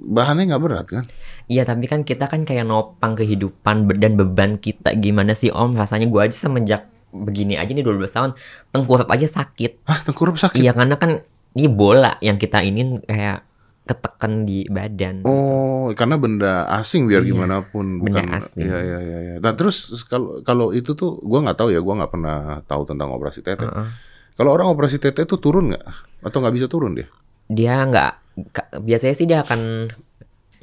Speaker 2: bahannya nggak berat kan?
Speaker 1: iya tapi kan kita kan kayak nopang kehidupan be- dan beban kita gimana sih om rasanya gue aja semenjak begini aja nih 12 tahun tengkurap aja sakit
Speaker 2: Hah, tengkurap sakit?
Speaker 1: iya karena kan ini bola yang kita ingin kayak ketekan di badan
Speaker 2: Oh, karena benda asing biar
Speaker 1: Gitu. Iya,
Speaker 2: gimana pun bukan.
Speaker 1: benda asing.
Speaker 2: Iya, iya, iya, iya. Nah, terus kalau kalau itu tuh gua nggak tahu ya, gua nggak pernah tahu tentang operasi tete.
Speaker 1: Heeh.
Speaker 2: Kalau orang operasi tete itu turun nggak? Atau nggak bisa turun dia?
Speaker 1: dia nggak ka- biasanya sih dia akan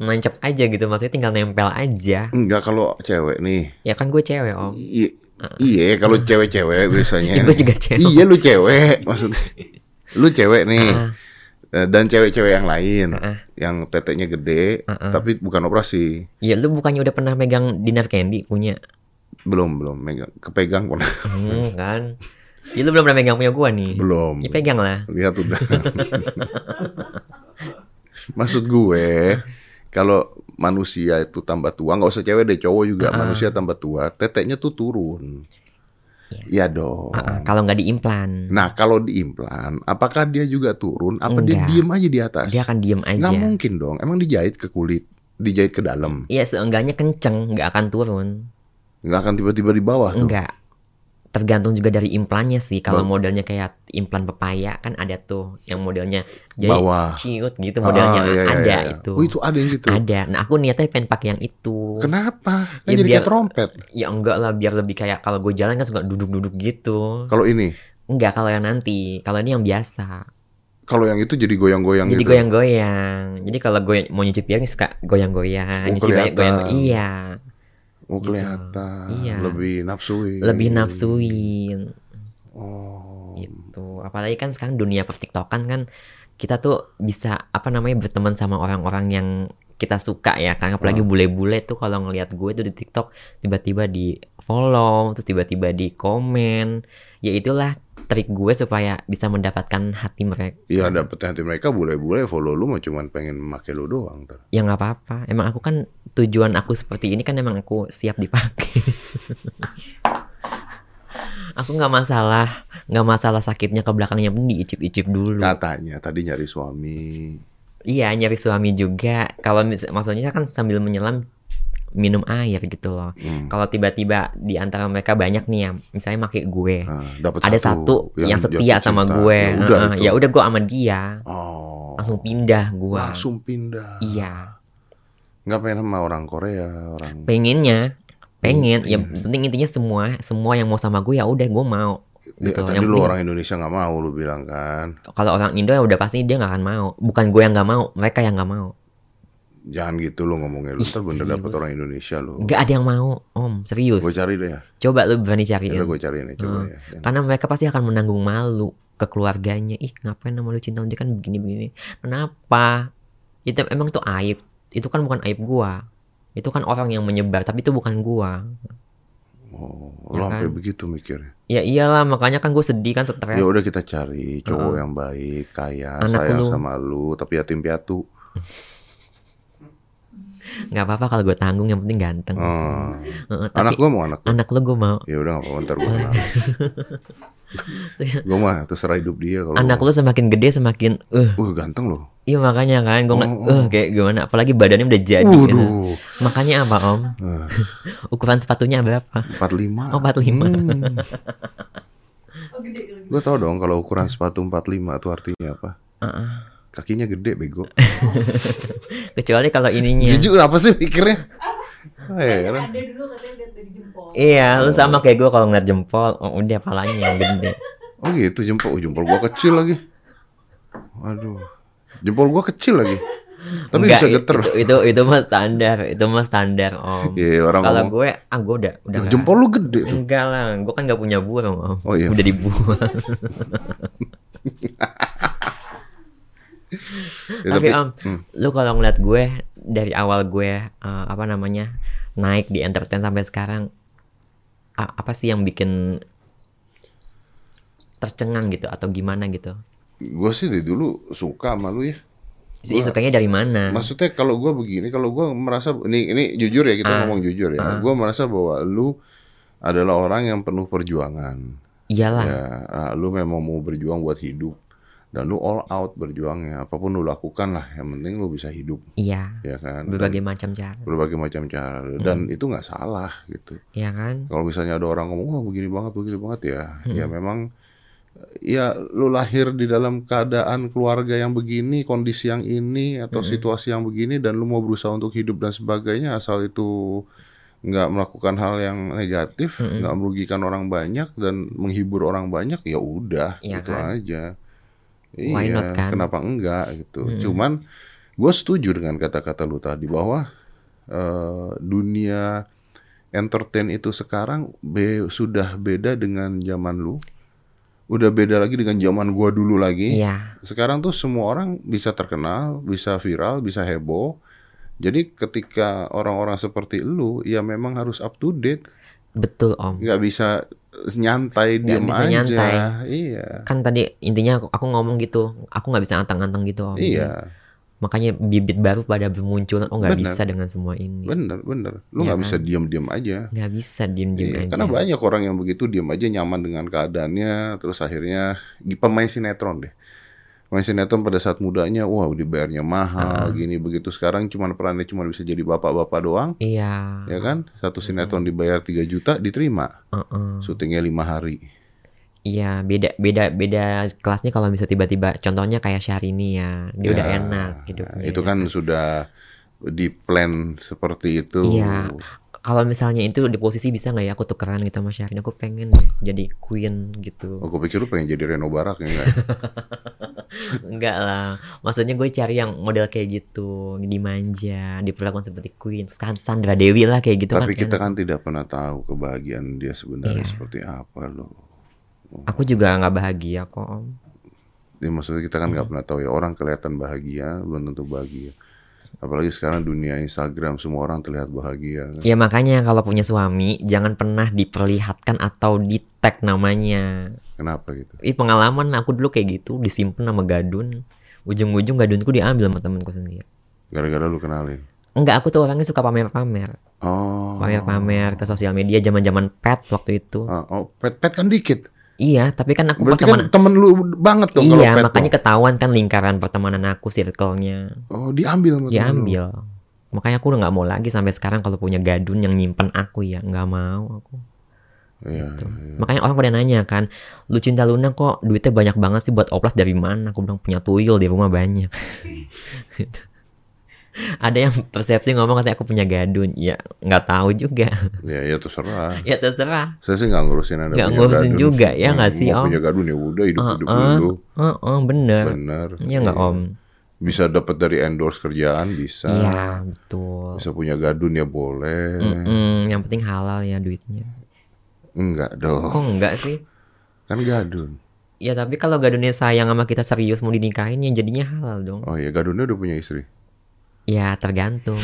Speaker 1: nancep aja gitu maksudnya tinggal nempel aja
Speaker 2: Enggak kalau cewek nih.
Speaker 1: ya kan gue cewek om
Speaker 2: Iya, iya kalau cewek-cewek biasanya.
Speaker 1: Gue juga cewek.
Speaker 2: Iya, lu cewek maksudnya. Lu cewek nih.
Speaker 1: Ah.
Speaker 2: Eh, Dan cewek-cewek yang lain
Speaker 1: Ah.
Speaker 2: yang teteknya gede
Speaker 1: Ah, ah.
Speaker 2: tapi bukan operasi.
Speaker 1: Ya lu bukannya udah pernah megang dinar candy punya
Speaker 2: Belum, belum megang kepegang pun.
Speaker 1: hmm, kan Jadi lu belum pernah megang punya gua nih.
Speaker 2: Belum.
Speaker 1: Ya pegang lah.
Speaker 2: Lihat udah. Maksud gue, kalau manusia itu tambah tua, nggak usah cewek deh, cowok juga
Speaker 1: Ah.
Speaker 2: manusia tambah tua, teteknya tuh turun. Iya dong.
Speaker 1: Ah, ah, kalau nggak diimplan,
Speaker 2: Nah, kalau diimplan, apakah dia juga turun? Apa
Speaker 1: Enggak.
Speaker 2: dia diem aja di atas?
Speaker 1: dia akan diem aja.
Speaker 2: Nah, Nggak mungkin dong. Emang dijahit ke kulit, dijahit ke dalam.
Speaker 1: Iya seenggaknya kenceng, nggak akan turun.
Speaker 2: Nggak akan tiba-tiba di bawah tuh.
Speaker 1: Enggak. Tergantung juga dari implannya sih. Kalau
Speaker 2: Ba-
Speaker 1: modelnya kayak implan pepaya kan ada tuh yang modelnya jadi
Speaker 2: Bawah.
Speaker 1: ciut gitu modelnya
Speaker 2: Ah, iya, iya,
Speaker 1: ada
Speaker 2: iya.
Speaker 1: itu.
Speaker 2: Oh, itu ada yang gitu.
Speaker 1: Ada. Nah aku niatnya pengen pakai yang itu.
Speaker 2: Kenapa? Kan
Speaker 1: Ya,
Speaker 2: jadi kayak
Speaker 1: biar-
Speaker 2: trompet.
Speaker 1: Ya enggak lah biar lebih kayak kalau gue jalan kan suka duduk-duduk gitu.
Speaker 2: Kalau ini,
Speaker 1: Enggak kalau yang nanti. Kalau ini yang biasa.
Speaker 2: kalau yang itu jadi goyang-goyang
Speaker 1: Jadi
Speaker 2: gitu.
Speaker 1: goyang-goyang. Jadi kalau gue mau nyuci piring suka goyang-goyang.
Speaker 2: Oh,
Speaker 1: nyuci banyak
Speaker 2: kelihatan.
Speaker 1: goyang. Iya.
Speaker 2: Oh
Speaker 1: gitu.
Speaker 2: kelihatan.
Speaker 1: Iya.
Speaker 2: Lebih nafsuin.
Speaker 1: Lebih nafsuin.
Speaker 2: Oh.
Speaker 1: gitu apalagi kan sekarang dunia per tiktokan kan kita tuh bisa apa namanya berteman sama orang-orang yang kita suka ya kan apalagi bule-bule tuh kalau ngelihat gue tuh di tiktok tiba-tiba di follow terus tiba-tiba di komen ya itulah trik gue supaya bisa mendapatkan hati mereka
Speaker 2: Iya dapet hati mereka boleh-boleh follow lu mah cuman pengen make lu doang ntar.
Speaker 1: ya nggak apa-apa emang aku kan tujuan aku seperti ini kan emang aku siap dipakai aku nggak masalah nggak masalah sakitnya ke belakangnya pun diicip-icip dulu
Speaker 2: Katanya tadi nyari suami.
Speaker 1: Iya nyari suami juga. Kalau mis- maksudnya kan sambil menyelam minum air gitu loh.
Speaker 2: Hmm.
Speaker 1: Kalau tiba-tiba di antara mereka banyak nih ya, misalnya make gue.
Speaker 2: Nah, dapat
Speaker 1: Ada satu yang, setia
Speaker 2: jatuh
Speaker 1: sama
Speaker 2: cinta.
Speaker 1: gue.
Speaker 2: Ya udah
Speaker 1: Heeh,
Speaker 2: itu.
Speaker 1: Ya udah gue sama dia.
Speaker 2: Oh.
Speaker 1: Langsung pindah gue.
Speaker 2: Langsung pindah.
Speaker 1: Iya.
Speaker 2: Nggak pengen sama orang Korea, orang.
Speaker 1: Pengennya pengen ya
Speaker 2: Iya.
Speaker 1: penting intinya semua semua yang mau sama gue ya udah gue mau
Speaker 2: Ya,
Speaker 1: gitu
Speaker 2: tadi
Speaker 1: yang
Speaker 2: lu
Speaker 1: penting-
Speaker 2: orang Indonesia nggak mau lu bilang kan.
Speaker 1: kalau orang Indo ya udah pasti dia nggak akan mau bukan gue yang nggak mau mereka yang nggak mau
Speaker 2: Jangan gitu lu ngomongnya lu
Speaker 1: Ih,
Speaker 2: ntar bener dapet
Speaker 1: serius.
Speaker 2: orang Indonesia lu.
Speaker 1: nggak ada yang mau om serius
Speaker 2: Gue cari deh ya.
Speaker 1: coba lu berani
Speaker 2: Ya,
Speaker 1: cariin
Speaker 2: gue cari nih coba
Speaker 1: Hmm.
Speaker 2: ya. Yang-
Speaker 1: Karena mereka pasti akan menanggung malu ke keluarganya. Ih, ngapain sama lu cinta dia kan begini-begini. Kenapa? Itu emang tuh aib. Itu kan bukan aib gua. Itu kan orang yang menyebar, tapi itu bukan gua.
Speaker 2: Oh,
Speaker 1: Ya
Speaker 2: lu sampai
Speaker 1: kan?
Speaker 2: begitu mikirnya.
Speaker 1: Ya iyalah, makanya kan gue sedih kan stres.
Speaker 2: Ya udah kita cari cowok
Speaker 1: Heeh.
Speaker 2: yang baik, kaya,
Speaker 1: Anak
Speaker 2: sayang
Speaker 1: lu.
Speaker 2: sama lu, tapi yatim piatu.
Speaker 1: Nggak apa-apa kalau gue tanggung, yang penting ganteng.
Speaker 2: Eh,
Speaker 1: Heeh, Hmm. tapi
Speaker 2: anak gua mau anak.
Speaker 1: anak lu gue mau.
Speaker 2: Ya udah nggak apa-apa ntar gua kenal. gua mah terserah hidup dia kalau.
Speaker 1: Anak lu semakin gede semakin eh
Speaker 2: Wah ganteng loh.
Speaker 1: iya makanya kan gue ngeliat eh
Speaker 2: Oh, oh.
Speaker 1: kayak gimana apalagi badannya udah jadi kan.
Speaker 2: Waduh.
Speaker 1: Makanya apa, Om?
Speaker 2: Eh,
Speaker 1: Ukuran sepatunya berapa?
Speaker 2: 45.
Speaker 1: Oh, 45.
Speaker 2: Hmm.
Speaker 4: Oh, gitu.
Speaker 2: Lu tau dong kalau ukuran sepatu 45 tuh artinya apa?
Speaker 1: Hmm. Heeh.
Speaker 2: Kakinya gede bego.
Speaker 1: Kecuali kalau ininya.
Speaker 2: Jujur apa sih pikirnya? Heran.
Speaker 4: ada dulu katanya lihat dari jempol
Speaker 1: Iya, lu sama kayak gue kalau ngeliat jempol, oh, udah palanya yang gede.
Speaker 2: Oh gitu jempol, oh, jempol gua kecil lagi. Waduh. Jempol gua kecil lagi. Tapi
Speaker 1: Enggak,
Speaker 2: bisa geter.
Speaker 1: Itu, itu itu mah standar, itu mah standar om.
Speaker 2: Iya, orang
Speaker 1: kalau
Speaker 2: ngomong.
Speaker 1: gue, ah gue udah udah.
Speaker 2: Lah,
Speaker 1: nggak-
Speaker 2: jempol lu gede tuh.
Speaker 1: Enggak lah, gue kan nggak punya burung om.
Speaker 2: Oh, iya.
Speaker 1: Udah dibuang.
Speaker 2: Ya,
Speaker 1: tapi, om,
Speaker 2: hmm.
Speaker 1: lu kalau ngeliat gue dari awal gue eh, apa namanya naik di entertain sampai sekarang, a- apa sih yang bikin tercengang gitu atau gimana gitu?
Speaker 2: Gue sih dari dulu suka sama lu ya.
Speaker 1: Hmm. Ih, Sukanya dari mana?
Speaker 2: Maksudnya kalau gua begini, kalau gua merasa ini ini jujur ya kita
Speaker 1: Ah.
Speaker 2: ngomong jujur ya.
Speaker 1: Ah.
Speaker 2: Gua merasa bahwa lu adalah orang yang penuh perjuangan.
Speaker 1: Iyalah.
Speaker 2: Ya, nah, lu memang mau berjuang buat hidup dan lu all out berjuangnya. Apapun lu lakukan lah, yang penting lu bisa hidup,
Speaker 1: Iya.
Speaker 2: ya kan? Dan
Speaker 1: Berbagai macam cara,
Speaker 2: berbagai macam cara dan itu nggak salah gitu.
Speaker 1: ya kan?
Speaker 2: Kalau misalnya ada orang ngomong, wah begini banget, begitu banget ya, ya
Speaker 1: Hmm.
Speaker 2: memang ya lu lahir di dalam keadaan keluarga yang begini, kondisi yang ini atau
Speaker 1: Hmm.
Speaker 2: situasi yang begini dan lu mau berusaha untuk hidup dan sebagainya asal itu nggak melakukan hal yang negatif,
Speaker 1: Mm-mm.
Speaker 2: nggak merugikan orang banyak dan menghibur orang banyak ya udah
Speaker 1: Iya
Speaker 2: gitu
Speaker 1: kan?
Speaker 2: aja.
Speaker 1: Why
Speaker 2: iya,
Speaker 1: not, kan? Hmm.
Speaker 2: kenapa enggak gitu.
Speaker 1: Mm-mm.
Speaker 2: Cuman gue setuju dengan kata-kata lu tadi bahwa eh, dunia entertain itu sekarang be- sudah beda dengan zaman lu. Udah beda lagi dengan zaman gua dulu lagi.
Speaker 1: Iya,
Speaker 2: Sekarang tuh semua orang bisa terkenal, bisa viral, bisa heboh. Jadi ketika orang-orang seperti lu ya memang harus up to date.
Speaker 1: Betul om.
Speaker 2: nggak bisa nyantai
Speaker 1: Nggak
Speaker 2: diam
Speaker 1: bisa
Speaker 2: aja
Speaker 1: nyantai.
Speaker 2: iya
Speaker 1: Kan tadi intinya aku, aku ngomong gitu, aku nggak bisa antang-antang gitu om.
Speaker 2: iya
Speaker 1: Makanya bibit baru pada bermunculan. Oh nggak
Speaker 2: Benar.
Speaker 1: bisa dengan semua ini.
Speaker 2: bener bener lu
Speaker 1: Iya
Speaker 2: nggak
Speaker 1: kan?
Speaker 2: bisa diam diam aja
Speaker 1: Nggak bisa diem-diem
Speaker 2: Iya,
Speaker 1: aja.
Speaker 2: karena banyak orang yang begitu diam aja nyaman dengan keadaannya terus akhirnya gi- pemain sinetron deh pemain sinetron pada saat mudanya wah dibayarnya mahal gini begitu sekarang cuman perannya cuma bisa jadi bapak-bapak doang
Speaker 1: Iya.
Speaker 2: ya kan satu sinetron dibayar 3 juta diterima
Speaker 1: Uh-uh.
Speaker 2: syutingnya lima hari
Speaker 1: Iya, beda beda beda kelasnya kalau bisa tiba-tiba contohnya kayak Syahrini ya. Dia udah
Speaker 2: Ya,
Speaker 1: enak
Speaker 2: Nah,
Speaker 1: hidupnya.
Speaker 2: itu kan sudah di plan seperti itu
Speaker 1: Iya. kalau misalnya itu di posisi bisa nggak ya aku tukeran gitu sama Syahrini aku pengen deh jadi queen gitu
Speaker 2: Oh, gue pikir lu pengen jadi Reno Barak ya enggak?
Speaker 1: enggak lah maksudnya gue cari yang model kayak gitu dimanja diperlakukan seperti queen Terus kan Sandra Dewi lah kayak gitu
Speaker 2: Tapi
Speaker 1: kan
Speaker 2: kita
Speaker 1: enak.
Speaker 2: kan tidak pernah tahu kebahagiaan dia
Speaker 1: Iya.
Speaker 2: sebenarnya seperti apa loh.
Speaker 1: aku juga nggak bahagia kok om
Speaker 2: Ya, maksudnya kita kan
Speaker 1: Hmm.
Speaker 2: nggak pernah tahu ya orang kelihatan bahagia belum tentu bahagia. Apalagi sekarang dunia Instagram semua orang terlihat bahagia. kan.
Speaker 1: ya makanya kalau punya suami jangan pernah diperlihatkan atau di tag namanya
Speaker 2: Kenapa gitu?
Speaker 1: Ih pengalaman aku dulu kayak gitu disimpan sama gadun ujung-ujung gadunku diambil sama temanku sendiri
Speaker 2: Gara-gara lu kenalin.
Speaker 1: enggak aku tuh orangnya suka pamer-pamer
Speaker 2: Oh.
Speaker 1: pamer-pamer ke sosial media zaman-zaman pet waktu itu
Speaker 2: Ah, oh, pet-pet kan dikit.
Speaker 1: Iya, tapi kan aku
Speaker 2: Berarti
Speaker 1: pertemanan.
Speaker 2: kan temen lu banget dong kalau
Speaker 1: iya,
Speaker 2: pet.
Speaker 1: makanya ketahuan kan lingkaran pertemanan aku, circle-nya.
Speaker 2: dong. Oh, diambil sama temen
Speaker 1: Ya
Speaker 2: lu.
Speaker 1: ambil. Makanya aku udah nggak mau lagi sampai sekarang kalau punya gadun yang nyimpen aku ya, nggak mau aku.
Speaker 2: Iya.
Speaker 1: Tuh. Makanya orang pada nanya kan, lu cinta Luna kok duitnya banyak banget sih buat oplas dari mana? Aku bilang punya tuyul di rumah banyak. Gitu. Ada yang persepsi ngomong katanya aku punya gadun, ya nggak tahu juga.
Speaker 2: Ya, ya terserah.
Speaker 1: ya terserah.
Speaker 2: Saya sih nggak ngurusin ada
Speaker 1: Nggak
Speaker 2: punya
Speaker 1: ngurusin
Speaker 2: gadun.
Speaker 1: juga, ya nggak
Speaker 2: Mau
Speaker 1: sih, Om?
Speaker 2: punya gadun ya udah hidup-hidup
Speaker 1: Heeh.
Speaker 2: dulu.
Speaker 1: Oh, bener.
Speaker 2: Bener.
Speaker 1: Iya nggak om?
Speaker 2: Bisa dapat dari endorse kerjaan bisa.
Speaker 1: Iya Hmm. betul.
Speaker 2: Bisa punya gadun ya boleh.
Speaker 1: Mm-mm, yang penting halal ya duitnya.
Speaker 2: Enggak dong.
Speaker 1: Kok enggak sih?
Speaker 2: Kan gadun.
Speaker 1: Ya tapi kalau gadunnya sayang sama kita serius mau dinikahin ya jadinya halal dong.
Speaker 2: Oh iya, gadunnya udah punya istri.
Speaker 1: Ya tergantung.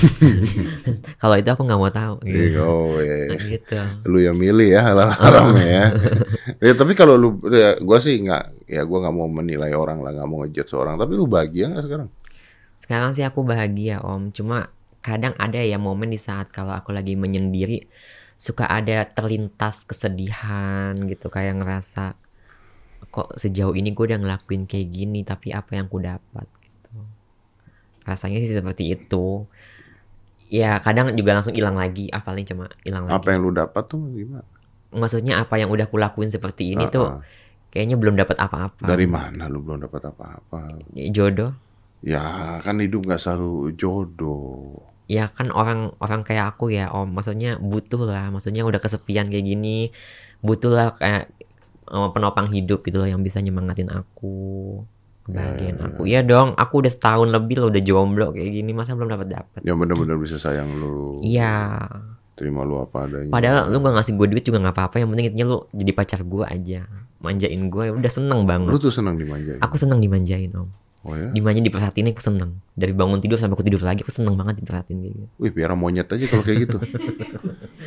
Speaker 1: kalau itu aku nggak mau tahu.
Speaker 2: Iya,
Speaker 1: Gitu.
Speaker 2: oh, iya.
Speaker 1: Gitu.
Speaker 2: Lu yang milih ya halal haram ya. ya tapi kalau lu ya, gua sih nggak ya gua nggak mau menilai orang lah, nggak mau ngejudge orang, tapi lu bahagia nggak sekarang?
Speaker 1: Sekarang sih aku bahagia om. Cuma kadang ada ya momen di saat kalau aku lagi menyendiri suka ada terlintas kesedihan gitu kayak ngerasa kok sejauh ini gue udah ngelakuin kayak gini tapi apa yang ku dapat gitu. Rasanya sih seperti itu. Ya kadang juga langsung hilang lagi, ah paling cuma hilang lagi.
Speaker 2: Apa yang lu dapat tuh gimana?
Speaker 1: Maksudnya apa yang udah kulakuin seperti ini tuh ah.
Speaker 2: Ah, ah.
Speaker 1: kayaknya belum dapat apa-apa.
Speaker 2: dari mana lu belum dapat apa-apa?
Speaker 1: jodoh.
Speaker 2: Ya kan hidup nggak selalu jodoh.
Speaker 1: ya kan orang-orang kayak aku ya om maksudnya butuh lah maksudnya udah kesepian kayak gini butuh lah kayak eh, penopang hidup gitu loh yang bisa nyemangatin aku kebahagiaan
Speaker 2: Ya, ya,
Speaker 1: aku ya dong aku udah setahun lebih loh udah jomblo kayak gini masa belum dapat dapat
Speaker 2: Yang benar-benar bisa sayang lu.
Speaker 1: iya
Speaker 2: Terima lu apa adanya.
Speaker 1: padahal lu gak ngasih gue duit juga nggak apa-apa yang penting intinya lu jadi pacar gue aja manjain gue ya udah seneng
Speaker 2: lu
Speaker 1: banget
Speaker 2: tuh senang dimanjain.
Speaker 1: aku seneng dimanjain om
Speaker 2: Oh ya.
Speaker 1: dimanjain diperhatiin aku seneng dari bangun tidur sampai aku tidur lagi aku seneng banget diperhatiin kayak gitu
Speaker 2: Wih, piara monyet aja kalau kayak gitu.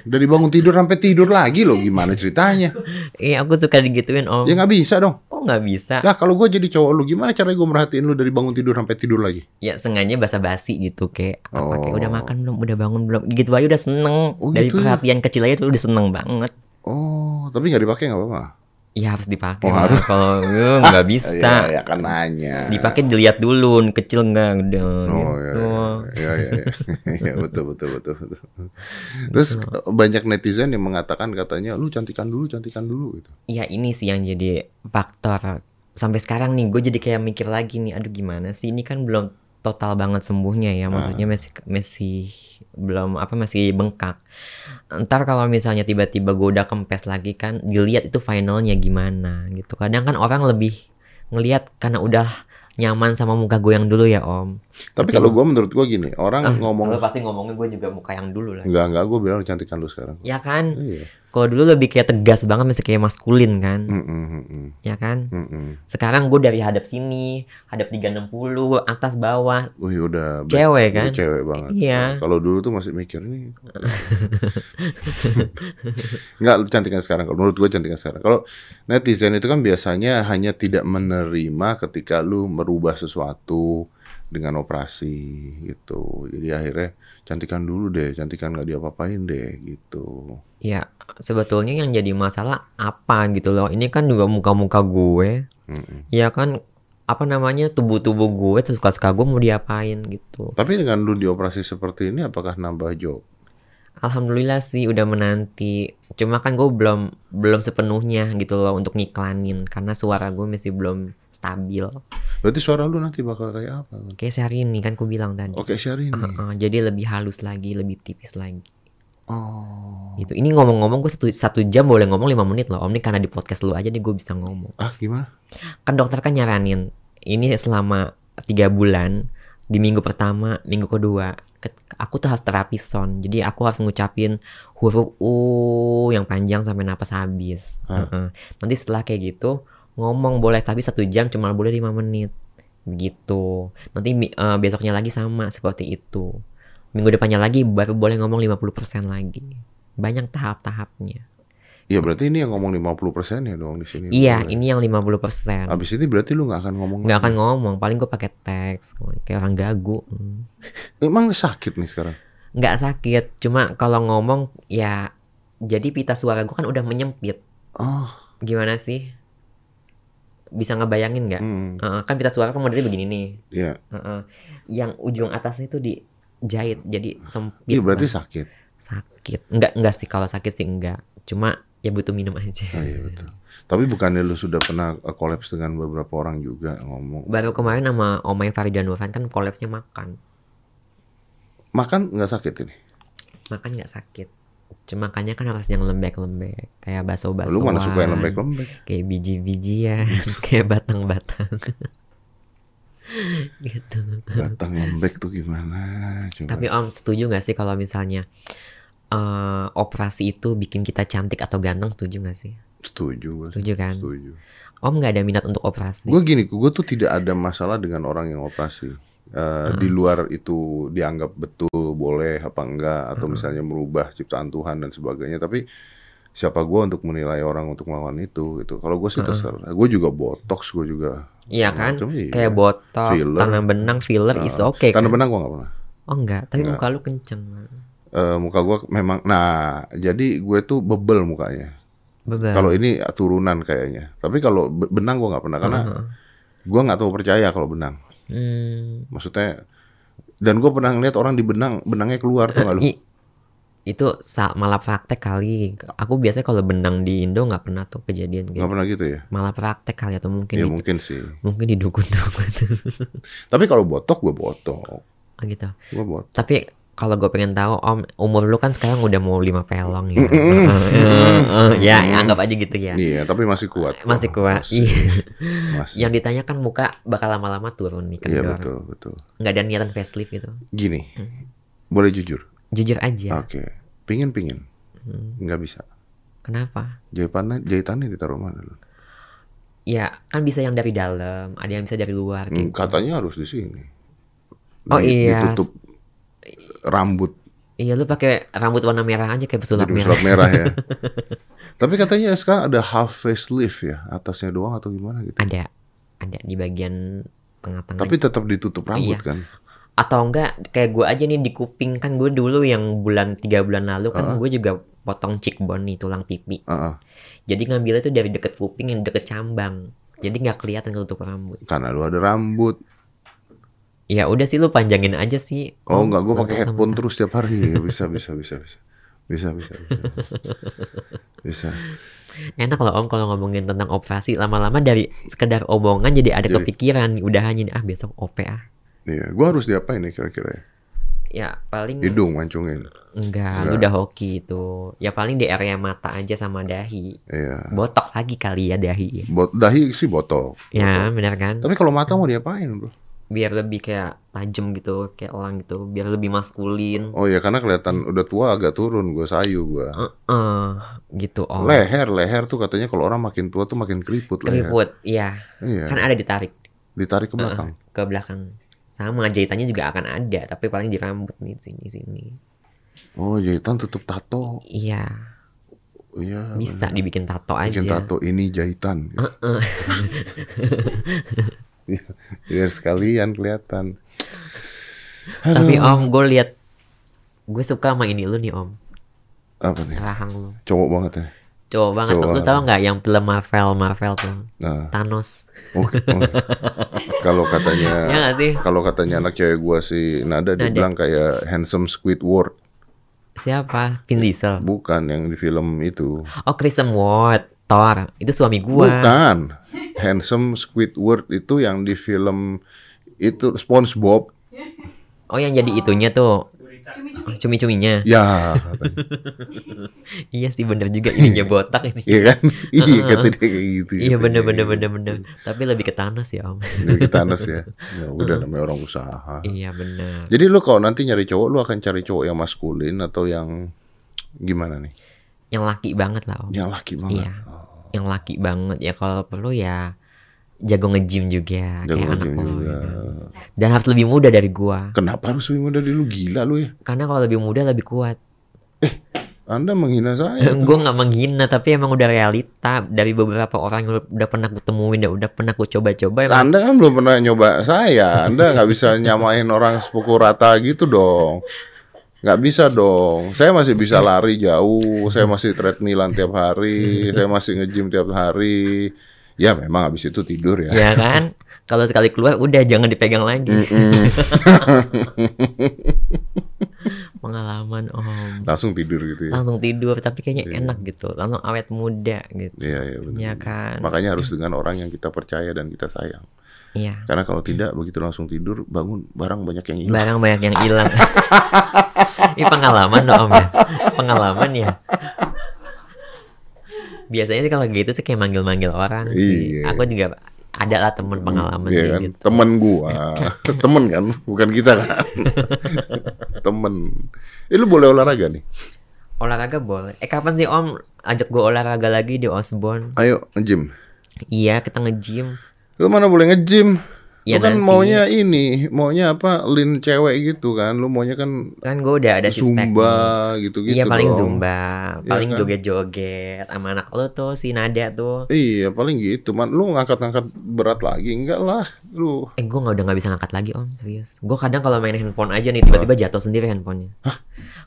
Speaker 2: Dari bangun tidur sampai tidur lagi lo gimana ceritanya?
Speaker 1: iya aku suka digituin om
Speaker 2: Ya nggak bisa dong.
Speaker 1: kok nggak bisa
Speaker 2: Lah kalau gue jadi cowok lu gimana caranya gue merhatiin lu dari bangun tidur sampai tidur lagi?
Speaker 1: ya sengaja basa-basi gitu kayak apa kayak
Speaker 2: Oh.
Speaker 1: udah makan belum udah bangun belum gitu aja udah seneng
Speaker 2: Oh,
Speaker 1: dari
Speaker 2: gitu ya?
Speaker 1: perhatian kecil aja tuh udah seneng banget
Speaker 2: Oh, tapi nggak dipakai nggak apa-apa.
Speaker 1: ya harus dipakai
Speaker 2: Oh,
Speaker 1: lah.
Speaker 2: harus.
Speaker 1: kalau eh, nggak bisa
Speaker 2: ya kan nanya.
Speaker 1: dipakai dilihat dulu kecil nggak udah
Speaker 2: Oh
Speaker 1: gitu
Speaker 2: ya, ya, ya, ya, ya, betul, betul, betul, betul. Terus banyak netizen yang mengatakan katanya lu cantikan dulu, cantikan dulu gitu.
Speaker 1: ya ini sih yang jadi faktor sampai sekarang nih gue jadi kayak mikir lagi nih aduh gimana sih ini kan belum total banget sembuhnya ya maksudnya masih masih belum apa masih bengkak ntar kalau misalnya tiba-tiba gue udah kempes lagi kan dilihat itu finalnya gimana gitu kadang kan orang lebih ngelihat karena udah nyaman sama muka gue yang dulu ya om
Speaker 2: Tapi
Speaker 1: Betul.
Speaker 2: kalau gue menurut gue gini,
Speaker 1: Ah,
Speaker 2: orang Nah, ngomong
Speaker 1: lo pasti ngomongnya gue juga muka yang dulu lah
Speaker 2: Enggak, enggak, gue bilang lu cantikan lu sekarang.
Speaker 1: ya kan
Speaker 2: Iya.
Speaker 1: Kalau dulu lebih kayak tegas banget, masih kayak maskulin kan,
Speaker 2: Mm-mm, mm-mm,
Speaker 1: ya kan?
Speaker 2: mm-mm.
Speaker 1: Sekarang gue dari hadap sini, hadap 360, atas bawah.
Speaker 2: Wih udah ber-
Speaker 1: Cewek
Speaker 2: udah
Speaker 1: kan?
Speaker 2: Cewek banget.
Speaker 1: Iya.
Speaker 2: Nah, Kalau dulu tuh masih mikir nih. Enggak cantikan sekarang. Kalau Menurut gua cantikan sekarang. Kalau netizen itu kan biasanya hanya tidak menerima ketika lu merubah sesuatu dengan operasi gitu. Jadi akhirnya cantikan dulu deh, cantikan nggak diapa-apain deh gitu.
Speaker 1: Ya sebetulnya yang jadi masalah apa gitu loh. Ini kan juga muka-muka gue,
Speaker 2: Mm-mm.
Speaker 1: ya kan? Apa namanya tubuh-tubuh gue, suka-suka gue mau diapain gitu.
Speaker 2: Tapi dengan lu dioperasi seperti ini apakah nambah job?
Speaker 1: Alhamdulillah sih udah menanti. Cuma kan gue belum belum sepenuhnya gitu loh untuk ngiklanin karena suara gue masih belum stabil.
Speaker 2: Berarti suara lu nanti bakal kayak apa?
Speaker 1: Oke, sehari ini kan gue bilang tadi.
Speaker 2: Oke, Syahrini.
Speaker 1: Heeh, jadi lebih halus lagi, lebih tipis lagi.
Speaker 2: Oh.
Speaker 1: Gitu. Ini ngomong-ngomong gue satu, satu jam boleh ngomong lima menit loh. Om ini karena di podcast lu aja nih gue bisa ngomong.
Speaker 2: Ah, gimana?
Speaker 1: Kan dokter kan nyaranin ini selama tiga bulan di minggu pertama, minggu kedua ke- aku tuh harus terapi sound. Jadi aku harus ngucapin huruf U yang panjang sampai napas habis.
Speaker 2: Hah.
Speaker 1: Heeh. Nanti setelah kayak gitu ngomong boleh tapi satu jam cuma boleh lima menit. Begitu. Nanti mi- eh, besoknya lagi sama seperti itu. Minggu depannya lagi baru boleh ngomong 50% lagi. Banyak tahap-tahapnya.
Speaker 2: Iya berarti ini yang ngomong 50% ya dong di sini.
Speaker 1: Iya,
Speaker 2: Betul ya?
Speaker 1: ini yang 50%.
Speaker 2: Abis ini berarti lu nggak akan ngomong.
Speaker 1: nggak
Speaker 2: lagi.
Speaker 1: akan ngomong paling gue pakai teks kayak orang gagu Hmm.
Speaker 2: Emang sakit nih sekarang.
Speaker 1: nggak sakit cuma kalau ngomong ya jadi pita suara gue kan udah menyempit
Speaker 2: Oh.
Speaker 1: gimana sih bisa ngebayangin nggak
Speaker 2: Hmm.
Speaker 1: Heeh, kan pita suara kan modelnya begini nih
Speaker 2: Iya.
Speaker 1: Heeh. yang ujung atasnya itu dijahit jadi sempit
Speaker 2: Iya berarti
Speaker 1: Bang.
Speaker 2: sakit.
Speaker 1: sakit nggak nggak sih kalau sakit sih nggak cuma ya butuh minum aja
Speaker 2: Oh, iya betul. Tapi bukannya lu sudah pernah eh, kolaps dengan beberapa orang juga ngomong.
Speaker 1: baru kemarin sama omanya Farida Nurhan kan kolapsnya makan
Speaker 2: Makan nggak sakit ini.
Speaker 1: makan nggak sakit cuma makannya kan harus yang lembek-lembek kayak bakso-baksoan
Speaker 2: Lu mana suka yang lembek-lembek?
Speaker 1: kayak biji-bijian kayak batang-batang gitu
Speaker 2: Batang lembek tuh gimana? Coba.
Speaker 1: tapi om setuju nggak sih kalau misalnya eh, operasi itu bikin kita cantik atau ganteng setuju nggak sih
Speaker 2: setuju gue.
Speaker 1: setuju kan
Speaker 2: Setuju.
Speaker 1: om nggak ada minat untuk operasi
Speaker 2: Gue gini, gue tuh tidak ada masalah dengan orang yang operasi. Eh, Di
Speaker 1: Hmm.
Speaker 2: luar itu dianggap betul, boleh apa enggak, atau
Speaker 1: Hmm.
Speaker 2: misalnya merubah ciptaan Tuhan dan sebagainya. Tapi siapa gue untuk menilai orang untuk melawan itu gitu. Kalau gue sih terserah. Gue juga botox, gue juga.
Speaker 1: iya Hmm. kan
Speaker 2: macam, iya.
Speaker 1: kayak botox
Speaker 2: Filler.
Speaker 1: tanam benang filler
Speaker 2: Nah,
Speaker 1: is okay kan?
Speaker 2: Tanda benang gue nggak pernah.
Speaker 1: oh enggak tapi
Speaker 2: Enggak.
Speaker 1: muka lu kenceng
Speaker 2: Eh, muka gue memang, nah jadi gue tuh bebel mukanya.
Speaker 1: bebal
Speaker 2: Kalau ini turunan kayaknya. Tapi kalau be- benang gue nggak pernah karena gue nggak tahu percaya kalau benang.
Speaker 1: Hmm,
Speaker 2: Maksudnya dan gue pernah ngeliat orang di benang benangnya keluar tuh nggak lu?
Speaker 1: I- itu sa- malah praktek kali. Aku biasanya kalau benang di Indo nggak pernah tuh kejadian
Speaker 2: Nggak
Speaker 1: gitu.
Speaker 2: pernah gitu ya?
Speaker 1: Malah praktek kali atau mungkin
Speaker 2: Iya
Speaker 1: di-
Speaker 2: mungkin sih.
Speaker 1: mungkin di dukun-dukun
Speaker 2: Tapi kalau botok gue botok.
Speaker 1: Oh, gitu.
Speaker 2: Gue botok.
Speaker 1: Tapi kalau gue pengen tahu om umur lu kan sekarang udah mau lima pelong ya. ya anggap aja gitu ya.
Speaker 2: Iya, tapi masih kuat. kok.
Speaker 1: Masih kuat.
Speaker 2: Masih.
Speaker 1: Iya.
Speaker 2: masih.
Speaker 1: Yang ditanyakan muka bakal lama-lama turun nih
Speaker 2: Iya
Speaker 1: kendor.
Speaker 2: betul betul.
Speaker 1: nggak ada niatan facelift gitu.
Speaker 2: Gini, boleh jujur.
Speaker 1: Jujur aja.
Speaker 2: Oke, pingin pingin,
Speaker 1: Iya. Hmm,
Speaker 2: nggak bisa.
Speaker 1: Kenapa?
Speaker 2: Jahitannya jahitannya ditaruh mana lu?
Speaker 1: Ya kan bisa yang dari dalam, ada yang bisa dari luar.
Speaker 2: Hmm,
Speaker 1: Gitu.
Speaker 2: Katanya harus di sini.
Speaker 1: Oh,
Speaker 2: Di-
Speaker 1: iya.
Speaker 2: Ditutup rambut
Speaker 1: Iya lu pakai rambut warna merah aja kayak pesulap
Speaker 2: jadi
Speaker 1: merah.
Speaker 2: merah. merah ya. tapi katanya SK ada half facelift ya, atasnya doang atau gimana gitu.
Speaker 1: Ada, ada di bagian tengah-tengah.
Speaker 2: Tapi tetap ditutup rambut
Speaker 1: Iya.
Speaker 2: kan.
Speaker 1: atau enggak kayak gue aja nih di kuping kan gue dulu yang bulan tiga bulan lalu kan gue juga potong cheekbone nih tulang pipi
Speaker 2: Heeh.
Speaker 1: jadi ngambilnya tuh dari deket kuping yang deket cambang jadi nggak kelihatan ketutup rambut
Speaker 2: Karena lu ada rambut.
Speaker 1: ya udah sih lu panjangin aja sih
Speaker 2: Oh enggak, gue
Speaker 1: Untuk
Speaker 2: pakai headphone
Speaker 1: sementara.
Speaker 2: terus tiap hari. Iya, Bisa, bisa, bisa, bisa. Bisa, bisa, bisa. Bisa.
Speaker 1: enak loh om kalau ngomongin tentang operasi lama-lama dari sekedar omongan jadi ada
Speaker 2: Jadi-
Speaker 1: kepikiran udah hanya ah besok op ah
Speaker 2: Iya, gue harus diapain nih kira-kira ya?
Speaker 1: ya paling
Speaker 2: Hidung mancungin.
Speaker 1: enggak lu
Speaker 2: Enggak.
Speaker 1: udah hoki itu ya paling di area mata aja sama dahi
Speaker 2: Iya.
Speaker 1: botok lagi kali ya dahi ya,
Speaker 2: Bot dahi sih botok.
Speaker 1: ya benar kan
Speaker 2: Tapi kalau mata mau diapain, Bro?
Speaker 1: biar lebih kayak tajam gitu kayak elang gitu biar lebih maskulin
Speaker 2: Oh ya karena kelihatan udah tua agak turun gue sayu gue.
Speaker 1: Eh, gitu om
Speaker 2: Leher leher tuh katanya kalau orang makin tua tuh makin keriput leher.
Speaker 1: keriput iya
Speaker 2: Iya.
Speaker 1: kan ada ditarik
Speaker 2: Ditarik ke belakang.
Speaker 1: ke belakang sama jahitannya juga akan ada tapi paling di rambut nih sini sini
Speaker 2: Oh jahitan tutup tato.
Speaker 1: iya
Speaker 2: Iya.
Speaker 1: bisa dibikin tato aja
Speaker 2: Bikin tato ini jahitan. gitu. Biar sekalian kelihatan.
Speaker 1: tapi om gue lihat gue suka sama ini lu nih om
Speaker 2: Apa nih?
Speaker 1: rahang lu
Speaker 2: Cowok banget ya.
Speaker 1: cowok banget
Speaker 2: Cowok
Speaker 1: Om. lu
Speaker 2: banget.
Speaker 1: tau nggak yang film Marvel Marvel tuh
Speaker 2: Nah,
Speaker 1: Thanos
Speaker 2: oke. oke. kalau katanya
Speaker 1: ya nggak sih
Speaker 2: kalau katanya anak cewek gua si Nada dia
Speaker 1: Nada.
Speaker 2: bilang kayak handsome Squidward.
Speaker 1: siapa Vin Diesel
Speaker 2: Bukan yang di film itu.
Speaker 1: oh Chris Hemsworth Thor itu suami gue
Speaker 2: Bukan. Handsome Squidward itu yang di film itu SpongeBob.
Speaker 1: oh yang jadi itunya tuh Oh, cumi-cuminya
Speaker 2: Ya, katanya.
Speaker 1: iya sih bener juga ini dia botak ini
Speaker 2: iya kan? Iya kata dia kayak gitu.
Speaker 1: iya
Speaker 2: katanya.
Speaker 1: bener bener bener bener tapi lebih ke Thanos ya om
Speaker 2: Jadi Kita anes ya. Ya udah namanya orang usaha.
Speaker 1: iya bener
Speaker 2: Jadi lu kalau nanti nyari cowok lu akan cari cowok yang maskulin atau yang gimana nih?
Speaker 1: yang laki banget lah om
Speaker 2: Yang laki banget.
Speaker 1: Iya. yang laki banget ya kalau perlu ya jago nge-gym juga
Speaker 2: Jago
Speaker 1: kayak anak
Speaker 2: nge-gym
Speaker 1: lo
Speaker 2: juga.
Speaker 1: gitu. dan harus lebih muda dari gua
Speaker 2: Kenapa harus lebih muda dari lu gila lu ya?
Speaker 1: karena kalau lebih muda lebih kuat
Speaker 2: Anda menghina saya.
Speaker 1: gua nggak menghina tapi emang udah realita dari beberapa orang yang udah pernah gua temuin dan udah pernah gua coba-coba emang
Speaker 2: Anda kan belum pernah nyoba saya. Anda nggak bisa nyamain orang sepuku rata gitu dong. Nggak bisa dong. Saya masih bisa lari jauh. Saya masih treadmillan tiap hari. Saya masih nge-gym tiap hari. Ya memang habis itu tidur ya.
Speaker 1: ya kan kalau sekali keluar udah jangan dipegang
Speaker 2: Hmm.
Speaker 1: lagi
Speaker 2: Mm-mm.
Speaker 1: pengalaman om
Speaker 2: Langsung tidur gitu ya.
Speaker 1: langsung tidur tapi kayaknya enak gitu langsung awet muda gitu
Speaker 2: Iya, iya benar.
Speaker 1: ya kan
Speaker 2: Makanya harus dengan orang yang kita percaya dan kita sayang.
Speaker 1: iya
Speaker 2: Karena kalau tidak begitu langsung tidur bangun barang banyak yang hilang.
Speaker 1: barang banyak yang hilang ini pengalaman loh om ya pengalaman ya biasanya sih kalau gitu sih kayak manggil-manggil orang sih.
Speaker 2: Iya.
Speaker 1: aku juga ada lah temen pengalaman
Speaker 2: Iya
Speaker 1: kayak
Speaker 2: kan?
Speaker 1: gitu
Speaker 2: Temen gua. Temen kan, bukan kita kan. Temen. Eh lu boleh olahraga nih.
Speaker 1: olahraga boleh eh kapan sih om ajak gua olahraga lagi di Osborne
Speaker 2: Ayo nge-gym.
Speaker 1: iya kita nge-gym
Speaker 2: Lu mana boleh nge-gym?
Speaker 1: Ya,
Speaker 2: lu kan
Speaker 1: nanti.
Speaker 2: maunya ini, maunya apa? Lin cewek gitu kan. Lu maunya kan
Speaker 1: kan gua udah ada six pack nih.
Speaker 2: zumba gitu-gitu.
Speaker 1: iya paling
Speaker 2: dong.
Speaker 1: zumba paling
Speaker 2: kan?
Speaker 1: joget-joget sama anak lo tuh si Nada tuh
Speaker 2: Iya, paling gitu. Man, lu ngangkat-ngangkat berat lagi enggak lah. Lu
Speaker 1: Eh gue udah nggak bisa ngangkat lagi om serius. Gue kadang kalau main handphone aja nih tiba-tiba jatuh sendiri handphonenya. Hah?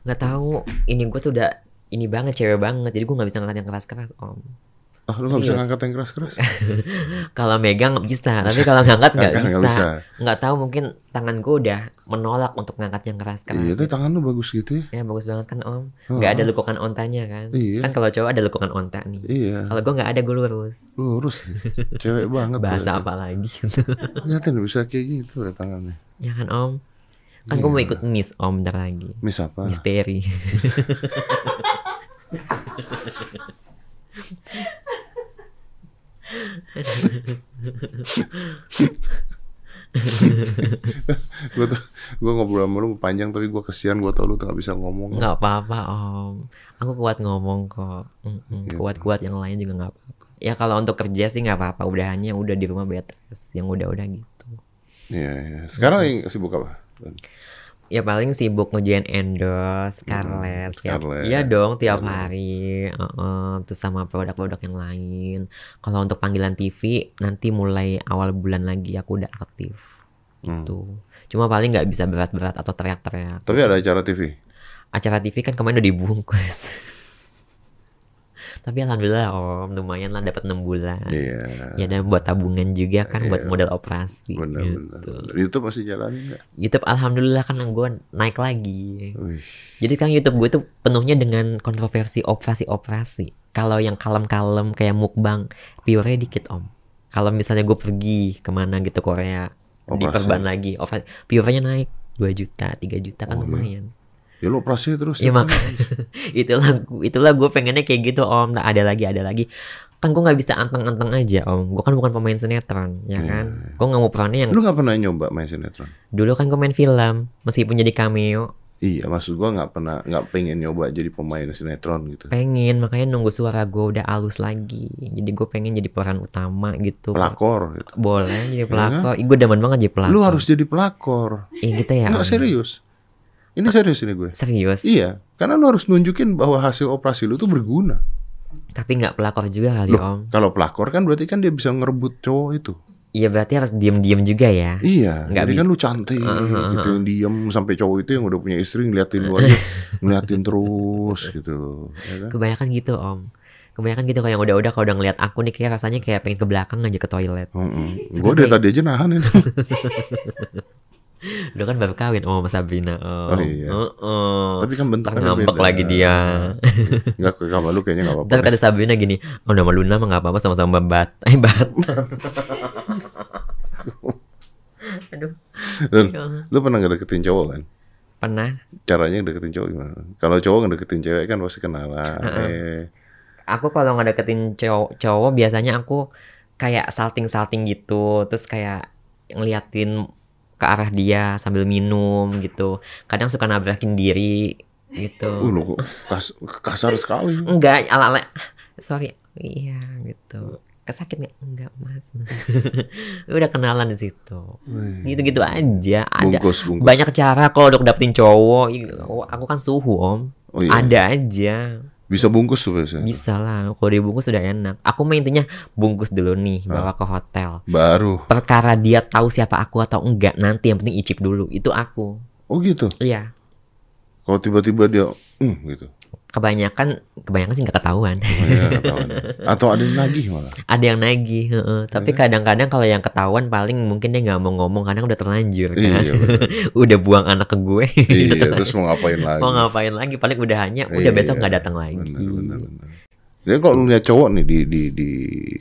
Speaker 1: Nggak tahu. Ini gue tuh udah ini banget cewek banget jadi gue nggak bisa ngangkat yang keras-keras om.
Speaker 2: ah lu nggak bisa
Speaker 1: Serius.
Speaker 2: ngangkat yang keras-keras.
Speaker 1: Kalau megang nggak bisa tapi kalau ngangkat nggak
Speaker 2: Kan
Speaker 1: bisa. Nggak tahu mungkin tangan gue udah menolak untuk ngangkat yang keras-keras.
Speaker 2: Iya, tuh tangan lu bagus gitu ya.
Speaker 1: Ya bagus banget kan om. Nggak ada lekukan ontanya kan.
Speaker 2: Iya.
Speaker 1: Kan kalau cowok ada lekukan onta nih.
Speaker 2: Iya,
Speaker 1: Kalau gue nggak ada gue lurus.
Speaker 2: lurus. Cewek banget.
Speaker 1: Bahasa
Speaker 2: tuh.
Speaker 1: apa lagi?
Speaker 2: Lihatin bisa kayak gitu ya tangannya.
Speaker 1: ya kan om. Kan
Speaker 2: Iya.
Speaker 1: gue mau ikut miss om bentar lagi.
Speaker 2: Miss apa?
Speaker 1: Misteri.
Speaker 2: Gue tuh gue ngobrol sama lu panjang tapi gue kesian gue tau lu tuh gak bisa ngomong.
Speaker 1: Nggak apa-apa om, aku kuat ngomong kok. Mm-mm,
Speaker 2: Gitu.
Speaker 1: Kuat-kuat yang lain juga nggak apa-apa. Ya kalau untuk kerja sih nggak apa-apa, udahannya udah di rumah bed rest, yang udah-udah gitu.
Speaker 2: Iya, iya. Sekarang yang sibuk apa?
Speaker 1: Ya paling sibuk ngejain endorse, Scarlett, tiap-
Speaker 2: Hmm, Scarlett.
Speaker 1: Iya dong tiap hari, Heeh, terus sama produk-produk yang lain. Kalau untuk panggilan TV nanti mulai awal bulan lagi aku udah aktif
Speaker 2: Hmm.
Speaker 1: tuh. Cuma paling nggak bisa berat-berat atau teriak-teriak.
Speaker 2: Tapi ada acara TV.
Speaker 1: acara TV kan kemarin udah dibungkus. Tapi alhamdulillah om, lumayan lah dapat 6 bulan.
Speaker 2: Iya.
Speaker 1: Ya dan buat tabungan juga kan buat modal operasi.
Speaker 2: Benar-benar.
Speaker 1: gitu.
Speaker 2: YouTube masih jalan nggak?
Speaker 1: YouTube alhamdulillah kan gue naik lagi.
Speaker 2: Wih.
Speaker 1: Jadi kan YouTube gue tuh penuhnya dengan kontroversi operasi-operasi. Kalau yang kalem-kalem kayak mukbang, viewernya dikit om. Kalau misalnya gue pergi kemana gitu Korea,
Speaker 2: Operasi.
Speaker 1: diperban lagi, operasi, viewernya naik 2 juta, 3 juta kan
Speaker 2: Oh, iya.
Speaker 1: lumayan.
Speaker 2: Ya lu operasi terus.
Speaker 1: Iya
Speaker 2: ya.
Speaker 1: mak, itulah itulah gue pengennya kayak gitu om. Nah, ada lagi ada lagi. kan gue nggak bisa anteng-anteng aja om gue kan bukan pemain sinetron ya
Speaker 2: Iya,
Speaker 1: kan gue nggak mau perannya yang
Speaker 2: Lu nggak pernah nyoba main sinetron?
Speaker 1: dulu kan gue main film meskipun jadi cameo
Speaker 2: Iya, maksud gua nggak pernah nggak pengen nyoba jadi pemain sinetron gitu.
Speaker 1: pengen makanya nunggu suara gue udah halus lagi jadi gue pengen jadi peran utama gitu
Speaker 2: Pelakor gitu.
Speaker 1: boleh jadi
Speaker 2: Iya.
Speaker 1: pelakor Ih, gue demen banget jadi pelakor
Speaker 2: Lu harus jadi pelakor.
Speaker 1: Ih, gitu ya
Speaker 2: Nggak
Speaker 1: Om?
Speaker 2: serius. Ini serius ini gue.
Speaker 1: serius
Speaker 2: Iya, karena lu harus nunjukin bahwa hasil operasi lu tuh berguna.
Speaker 1: tapi nggak pelakor juga kali
Speaker 2: Loh.
Speaker 1: om
Speaker 2: Kalau pelakor kan berarti kan dia bisa ngerebut cowok itu.
Speaker 1: iya berarti harus diem-diem juga ya
Speaker 2: Iya,
Speaker 1: Nggak
Speaker 2: jadi
Speaker 1: bisa.
Speaker 2: kan lu cantik
Speaker 1: Heeh,
Speaker 2: gitu yang diem sampai cowok itu yang udah punya istri ngeliatin lu aja, ngeliatin terus gitu. Ya kan?
Speaker 1: kebanyakan gitu om kebanyakan gitu kayak yang udah-udah kalau udah ngeliat aku nih kayak rasanya kayak pengen ke belakang aja ke toilet
Speaker 2: Gue dari tadi aja nahan ini.
Speaker 1: Udah kan baru kawin oh sama Sabrina. Oh,
Speaker 2: Oh, iya.
Speaker 1: Heeh.
Speaker 2: Tapi kan
Speaker 1: Ntar
Speaker 2: bentuknya
Speaker 1: ngambek lagi dia.
Speaker 2: Enggak ke kamar lu kayaknya enggak
Speaker 1: Ntar
Speaker 2: apa-apa.
Speaker 1: kata Sabrina gini, oh nama Luna mah gak apa-apa sama-sama bat. Eh bat. Aduh.
Speaker 2: Dan
Speaker 1: ya Allah.
Speaker 2: lu pernah ngedeketin cowok kan?
Speaker 1: Pernah
Speaker 2: Caranya ngedeketin cowok gimana? Kalau cowok ngedeketin cewek kan pasti kenalan.
Speaker 1: Heeh.
Speaker 2: Eh,
Speaker 1: aku kalau ngedeketin cowok, cowok biasanya aku kayak salting-salting gitu, terus kayak ngeliatin ke arah dia sambil minum gitu. Kadang suka nabrakin diri
Speaker 2: uh,
Speaker 1: gitu.
Speaker 2: lu kok kas- kasar sekali.
Speaker 1: Enggak, ala-ala sorry. Iya gitu. Kesakit nggak? Enggak, Mas. Udah kenalan di situ.
Speaker 2: Wih.
Speaker 1: Gitu-gitu aja. Gitu. Ada
Speaker 2: Bungkus, bungkus.
Speaker 1: banyak cara kalau untuk dapetin cowok. Ih, Aku kan suhu, Om.
Speaker 2: Oh iya.
Speaker 1: Ada aja.
Speaker 2: Bisa bungkus tuh biasanya.
Speaker 1: Bisa lah, kalau dibungkus sudah enak. Aku mah intinya bungkus dulu nih,
Speaker 2: Ah.
Speaker 1: bawa ke hotel.
Speaker 2: Baru.
Speaker 1: Perkara dia tahu siapa aku atau enggak nanti yang penting icip dulu. Itu aku.
Speaker 2: Oh gitu.
Speaker 1: Iya.
Speaker 2: Kalau tiba-tiba dia hmm gitu.
Speaker 1: Kebanyakan kebanyakan sih nggak ketahuan.
Speaker 2: Oh, iya, ketahuan. Atau ada yang nagih malah.
Speaker 1: Ada yang nagih, heeh. Tapi
Speaker 2: Iya.
Speaker 1: kadang-kadang kalau yang ketahuan paling mungkin dia nggak mau ngomong karena udah terlanjur kan.
Speaker 2: Iya, bener.
Speaker 1: udah buang anak ke gue.
Speaker 2: iya, terus mau ngapain lagi?
Speaker 1: Mau ngapain lagi? Paling udah hanya udah
Speaker 2: Iya.
Speaker 1: besok nggak datang lagi.
Speaker 2: Benar, benar, benar. Jadi kalau lu lihat cowok nih di di di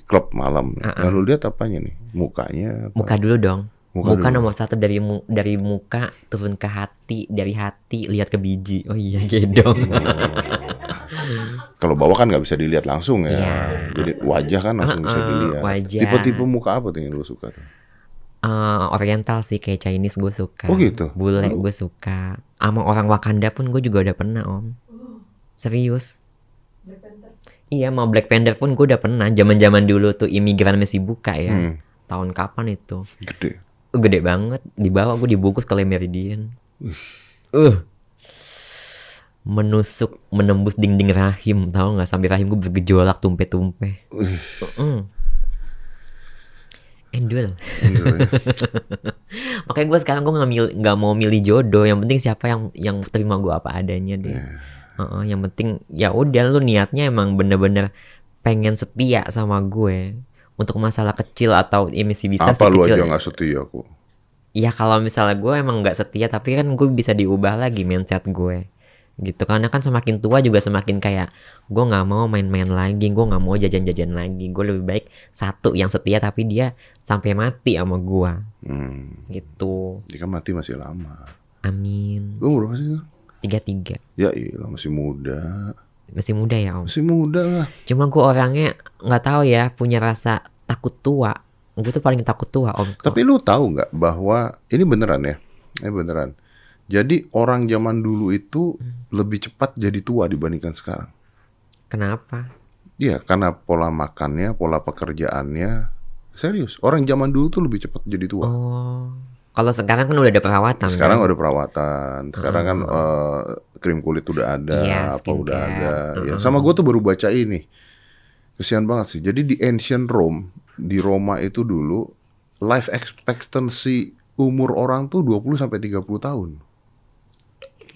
Speaker 2: klub malam, nih,
Speaker 1: Ah-ah.
Speaker 2: lu lihat apanya nih? Mukanya? apa?
Speaker 1: Muka dulu dong.
Speaker 2: Muka
Speaker 1: Muka,
Speaker 2: dulu.
Speaker 1: nomor satu dari mu- dari muka turun ke hati, dari hati lihat ke biji. Oh iya gedong.
Speaker 2: Kalau bawah kan nggak bisa dilihat langsung ya.
Speaker 1: Iya.
Speaker 2: Jadi wajah kan langsung bisa
Speaker 1: Ah-ah,
Speaker 2: dilihat.
Speaker 1: wajah.
Speaker 2: Tipe-tipe muka apa tuh yang lu suka tuh?
Speaker 1: Eh, oriental sih kayak Chinese gue suka.
Speaker 2: Oh, gitu?
Speaker 1: Bule gue suka. Sama orang Wakanda pun gue juga udah pernah om.
Speaker 4: Uh,
Speaker 1: Serius. Iya mau Black Panther pun gue udah pernah. Zaman zaman dulu tuh imigran masih buka ya.
Speaker 2: Hmm,
Speaker 1: Tahun kapan itu?
Speaker 2: gede.
Speaker 1: Gede banget. Dibawa gue dibungkus ke Le Meridian. Uh. Menusuk, menembus dinding rahim, tahu nggak? Sampai rahim gue bergejolak tumpe-tumpe.
Speaker 2: Wih,
Speaker 1: Mm. Endul.
Speaker 2: bener ya.
Speaker 1: Makanya gue sekarang gue nggak mil- nggak mau milih jodoh. Yang penting siapa yang yang terima gue apa adanya
Speaker 2: Iya.
Speaker 1: deh. Heeh, yang penting ya udah lu niatnya emang bener-bener pengen setia sama gue. Untuk masalah kecil atau ya masih bisa
Speaker 2: apa lu
Speaker 1: sekecil-
Speaker 2: aja nggak setia aku?
Speaker 1: Ya kalau misalnya gue emang nggak setia tapi kan gue bisa diubah lagi mindset gue gitu karena kan semakin tua juga semakin kayak gue nggak mau main-main lagi gue nggak mau jajan-jajan lagi gue lebih baik satu yang setia tapi dia sampai mati sama gue
Speaker 2: Hmm,
Speaker 1: gitu
Speaker 2: dia kan mati masih lama.
Speaker 1: amin
Speaker 2: Lu umur berapa sih? Kang?
Speaker 1: tiga tiga
Speaker 2: Ya iya masih muda,
Speaker 1: masih muda ya om
Speaker 2: masih muda lah.
Speaker 1: cuma gue orangnya nggak tahu ya punya rasa takut tua gue tuh paling takut tua om
Speaker 2: Tapi lu tahu nggak bahwa ini beneran ya? Ini beneran. Jadi orang zaman dulu itu lebih cepat jadi tua dibandingkan sekarang.
Speaker 1: kenapa
Speaker 2: Iya, karena pola makannya, pola pekerjaannya serius. Orang zaman dulu tuh lebih cepat jadi tua.
Speaker 1: oh kalau sekarang kan udah ada perawatan
Speaker 2: Sekarang
Speaker 1: kan?
Speaker 2: ada perawatan, sekarang kan eh, krim kulit udah ada,
Speaker 1: Iya,
Speaker 2: apa udah
Speaker 1: skincare.
Speaker 2: ada. Ya,
Speaker 1: Mm-mm.
Speaker 2: sama gue tuh baru baca ini. Kesian banget sih. Jadi di ancient Rome, di Roma itu dulu life expectancy umur orang tuh 20 sampai 30 tahun.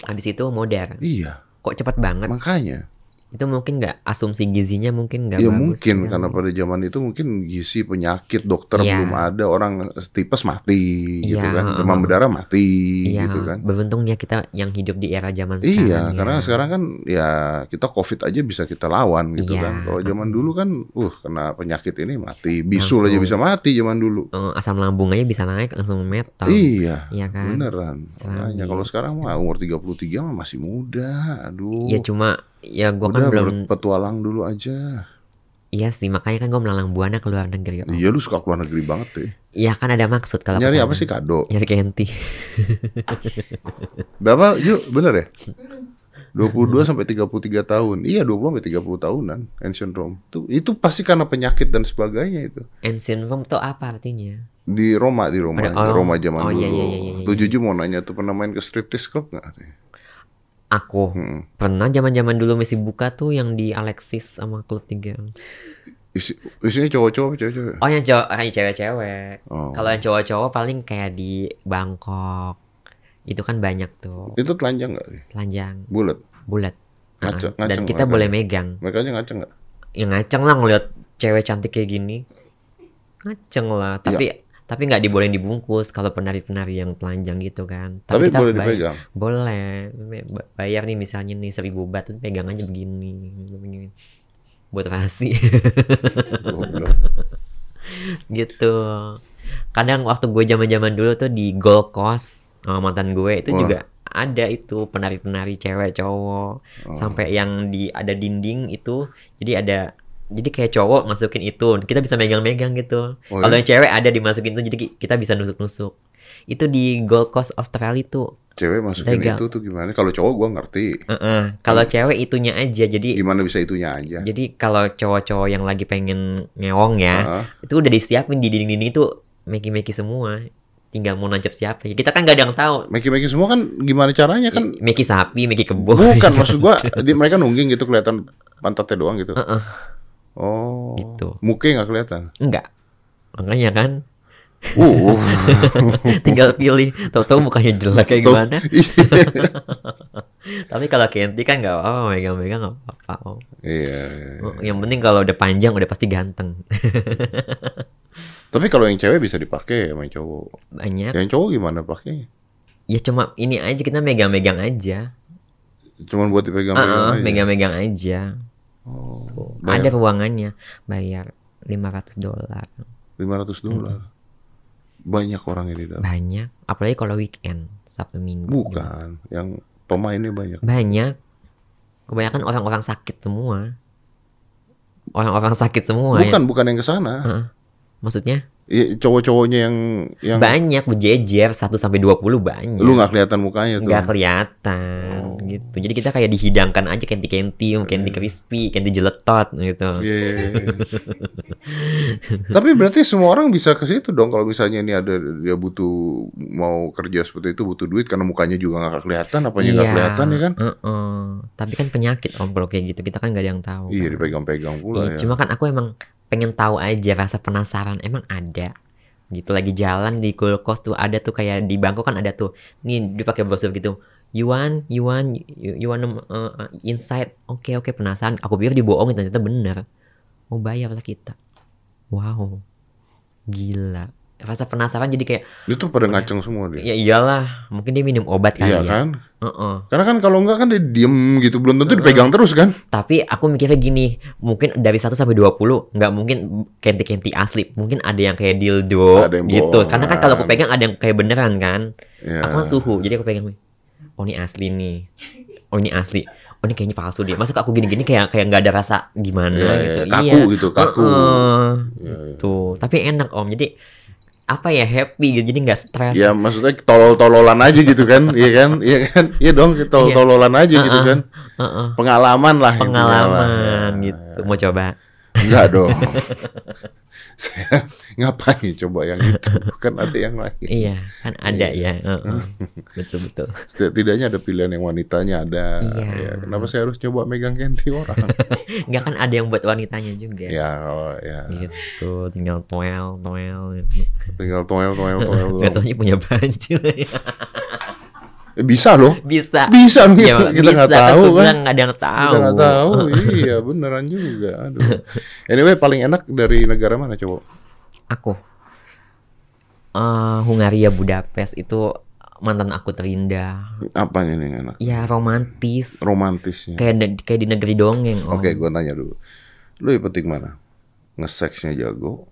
Speaker 1: habis itu modern
Speaker 2: Iya,
Speaker 1: kok cepet banget
Speaker 2: makanya.
Speaker 1: itu mungkin nggak asumsi gizinya mungkin nggak
Speaker 2: Ya
Speaker 1: bagus
Speaker 2: mungkin
Speaker 1: ya.
Speaker 2: karena pada zaman itu mungkin gizi penyakit dokter
Speaker 1: Iya.
Speaker 2: belum ada orang tipes mati gitu
Speaker 1: Iya,
Speaker 2: kan
Speaker 1: heeh.
Speaker 2: demam berdarah mati
Speaker 1: Iya,
Speaker 2: gitu kan
Speaker 1: beruntungnya kita yang hidup di era zaman sekarang
Speaker 2: iya
Speaker 1: ya.
Speaker 2: karena sekarang kan ya kita covid aja bisa kita lawan gitu
Speaker 1: Iya,
Speaker 2: kan kalau zaman
Speaker 1: heeh.
Speaker 2: dulu kan uh kena penyakit ini mati bisul aja
Speaker 1: Langsung.
Speaker 2: bisa mati zaman dulu
Speaker 1: Eh, asam lambung aja bisa naik langsung metal
Speaker 2: iya
Speaker 1: iya kan
Speaker 2: beneran makanya
Speaker 1: Selain.
Speaker 2: kalau sekarang mah umur 33 mah masih muda aduh
Speaker 1: ya cuma ya gua
Speaker 2: udah
Speaker 1: kan belum
Speaker 2: berpetualang dulu aja
Speaker 1: Iya sih, makanya kan gue melalang buana ke luar negeri. Om.
Speaker 2: Iya lu suka keluar negeri banget ya.
Speaker 1: Iya kan ada maksud kalau
Speaker 2: Nyari
Speaker 1: kesana.
Speaker 2: apa sih kado?
Speaker 1: Nyari kenti.
Speaker 2: Berapa? Yuk, bener ya? 22 sampai 33 tahun. Iya, 20 sampai 30 tahunan ancient Rome. Itu itu pasti karena penyakit dan sebagainya itu.
Speaker 1: Ancient Rome tuh apa artinya?
Speaker 2: Di Roma, di Roma,
Speaker 1: Ada- oh.
Speaker 2: Roma zaman
Speaker 1: Oh,
Speaker 2: dulu.
Speaker 1: iya, iya, iya, iya,
Speaker 2: Tuh
Speaker 1: iya.
Speaker 2: jujur mau nanya tuh pernah main ke striptease club nggak?
Speaker 1: Aku
Speaker 2: Hmm.
Speaker 1: pernah zaman-zaman dulu masih buka tuh yang di Alexis sama Klub 3.
Speaker 2: Isi, isinya cowok-cowok apa cewek-cewek?
Speaker 1: Oh yang cowok, yang cewek-cewek.
Speaker 2: Oh.
Speaker 1: Kalau yang cowok-cowok paling kayak di Bangkok. Itu kan banyak tuh
Speaker 2: Itu telanjang nggak? sih?
Speaker 1: telanjang,
Speaker 2: Bulat.
Speaker 1: bulat. Nah,
Speaker 2: Ngaceng-
Speaker 1: dan
Speaker 2: ngaceng
Speaker 1: kita
Speaker 2: lah,
Speaker 1: boleh megang.
Speaker 2: Mereka aja ngaceng nggak?
Speaker 1: Ya ngaceng lah ngeliat cewek cantik kayak gini. Ngaceng
Speaker 2: Iya.
Speaker 1: lah, tapi tapi nggak dibolehin dibungkus kalau penari-penari yang telanjang gitu kan.
Speaker 2: Tapi
Speaker 1: kita harus
Speaker 2: boleh
Speaker 1: bayar.
Speaker 2: dipegang.
Speaker 1: Boleh. Ba- Bayar nih misalnya nih seribu bat, pegang aja begini. begini. Buat rahasia.
Speaker 2: Goblok.
Speaker 1: gitu kadang waktu gue zaman zaman dulu tuh di Gold Coast sama mantan gue itu
Speaker 2: Wah.
Speaker 1: juga ada itu penari penari cewek cowok
Speaker 2: Oh.
Speaker 1: sampai yang di ada dinding itu jadi ada jadi kayak cowok masukin itu kita bisa megang megang gitu
Speaker 2: Oh,
Speaker 1: kalau
Speaker 2: iya?
Speaker 1: yang cewek ada dimasukin itu jadi ki- kita bisa nusuk nusuk itu di Gold Coast Australia tuh
Speaker 2: Cewek masukin
Speaker 1: Legal.
Speaker 2: itu tuh gimana? Kalau cowok gua ngerti.
Speaker 1: Heeh. kalau cewek itunya aja jadi
Speaker 2: Gimana bisa itunya aja?
Speaker 1: jadi kalau cowok-cowok yang lagi pengen ngewong ya
Speaker 2: Heeh.
Speaker 1: itu udah disiapin di dinding-dinding itu meki-meki semua tinggal mau nancap siapa kita kan gak ada yang tahu
Speaker 2: Meki-meki semua kan gimana caranya kan
Speaker 1: meki sapi meki kebo
Speaker 2: Bukan maksud gua di, mereka nungging gitu kelihatan pantatnya doang gitu.
Speaker 1: Heeh.
Speaker 2: Oh.
Speaker 1: Gitu.
Speaker 2: Mukanya nggak kelihatan.
Speaker 1: enggak makanya kan
Speaker 2: Uh.
Speaker 1: tinggal pilih tahu-tahu mukanya jelek kayak
Speaker 2: Tahu-
Speaker 1: gimana tapi kalau Kenti kan nggak apa-apa megang-megang nggak apa-apa Om.
Speaker 2: iya.
Speaker 1: yang penting kalau udah panjang udah pasti ganteng
Speaker 2: Tapi kalau yang cewek bisa dipakai ya sama yang cowok.
Speaker 1: banyak
Speaker 2: Yang cowok gimana pakainya?
Speaker 1: ya cuma ini aja kita megang-megang aja
Speaker 2: Cuman
Speaker 1: Ah,
Speaker 2: buat
Speaker 1: ah,
Speaker 2: dipegang-pegang aja.
Speaker 1: megang-megang aja
Speaker 2: Oh.
Speaker 1: ada
Speaker 2: Bayar
Speaker 1: ruangannya bayar 500 dolar
Speaker 2: 500 dolar. Banyak orang yang di dalam.
Speaker 1: banyak apalagi kalau weekend Sabtu Minggu
Speaker 2: gitu. Bukan, yang pemainnya banyak.
Speaker 1: banyak kebanyakan orang-orang sakit semua orang-orang sakit semua ya
Speaker 2: Bukan, bukan yang ke sana.
Speaker 1: maksudnya
Speaker 2: Iya, Cowok-cowoknya yang yang
Speaker 1: banyak berjejer 1 sampai 20 banyak
Speaker 2: lu nggak gitu. Oh. kelihatan mukanya tuh.
Speaker 1: nggak kelihatan gitu jadi kita kayak dihidangkan aja kenti kenti kenti crispy kenti jeletot gitu
Speaker 2: Iya, iya, iya. Tapi berarti semua orang bisa ke situ dong kalau misalnya ini ada dia butuh mau kerja seperti itu butuh duit karena mukanya juga nggak kelihatan apanya
Speaker 1: Iya.
Speaker 2: nggak kelihatan ya kan?
Speaker 1: heeh. tapi kan penyakit om kalau kayak gitu kita kan nggak ada yang tahu
Speaker 2: Iya
Speaker 1: kan.
Speaker 2: dipegang-pegang pula
Speaker 1: Iya,
Speaker 2: ya.
Speaker 1: Cuma kan aku emang pengen tahu aja rasa penasaran emang ada gitu lagi jalan di Gold Coast tuh ada tuh kayak di Bangkok kan ada tuh nih dia pakai brosur gitu you want you want you, you want um, uh, uh, inside oke oke penasaran aku pikir dibohongin ternyata bener mau bayar lah kita wow gila rasa penasaran jadi kayak
Speaker 2: Itu pada ngaceng semua dia.
Speaker 1: ya iyalah mungkin dia minum obat kali ya
Speaker 2: Iya kan?
Speaker 1: Heeh.
Speaker 2: Karena kan kalau nggak kan dia diem gitu belum tentu dipegang terus kan?
Speaker 1: Tapi aku mikirnya gini, mungkin dari 1 sampai 20 nggak mungkin kenti-kenti asli. Mungkin ada yang kayak dildo
Speaker 2: Ada yang
Speaker 1: gitu. Karena kan kalau aku
Speaker 2: bohongan.
Speaker 1: pegang ada yang kayak beneran kan.
Speaker 2: Iya.
Speaker 1: Aku kan suhu, jadi aku pegang. Oh ini asli nih. Oh ini asli. Oh ini kayaknya palsu deh. Masa aku gini-gini kayak kayak nggak ada rasa gimana
Speaker 2: Iya, iya,
Speaker 1: gitu.
Speaker 2: kaku gitu, kaku.
Speaker 1: Heeh.
Speaker 2: Iya, iya.
Speaker 1: Tuh. Tapi enak om. Jadi apa ya happy gitu. Jadi nggak stres.
Speaker 2: Ya maksudnya tolol-tololan aja gitu kan, iya kan, iya kan, iya dong tolol-tololan aja gitu kan,
Speaker 1: Heeh.
Speaker 2: pengalaman lah intinya lah.
Speaker 1: Pengalaman gitu. Mau coba?
Speaker 2: Enggak dong. Saya ngapain coba yang itu? Kan ada yang lain.
Speaker 1: Iya, kan ada ya. Heeh. Betul betul.
Speaker 2: Setidak- Tidaknya ada pilihan yang wanitanya ada.
Speaker 1: Iya.
Speaker 2: Ya, kenapa saya harus coba megang kenti orang?
Speaker 1: Nggak kan ada yang buat wanitanya juga.
Speaker 2: ya, oh, ya.
Speaker 1: Gitu, tinggal toel, toel gitu.
Speaker 2: Tinggal toel toel toel.
Speaker 1: Nggak
Speaker 2: doang.
Speaker 1: taunya punya banci
Speaker 2: Eh, Bisa loh.
Speaker 1: Bisa.
Speaker 2: Bisa loh.
Speaker 1: Ya,
Speaker 2: kita nggak
Speaker 1: bisa, kan
Speaker 2: tahu
Speaker 1: gua
Speaker 2: kan.
Speaker 1: bilang nggak ada yang tahu.
Speaker 2: Kita nggak tahu. iya, beneran juga. Aduh. Anyway, paling enak dari negara mana coba?
Speaker 1: Aku. eh Hungaria Budapest itu mantan aku terindah.
Speaker 2: Apanya nih yang enak?
Speaker 1: Ya romantis.
Speaker 2: Romantisnya.
Speaker 1: kayak di- kayak di negeri dongeng. oh. Om.
Speaker 2: Oke, gua tanya dulu. Lu yang penting mana? Ngeseksnya jago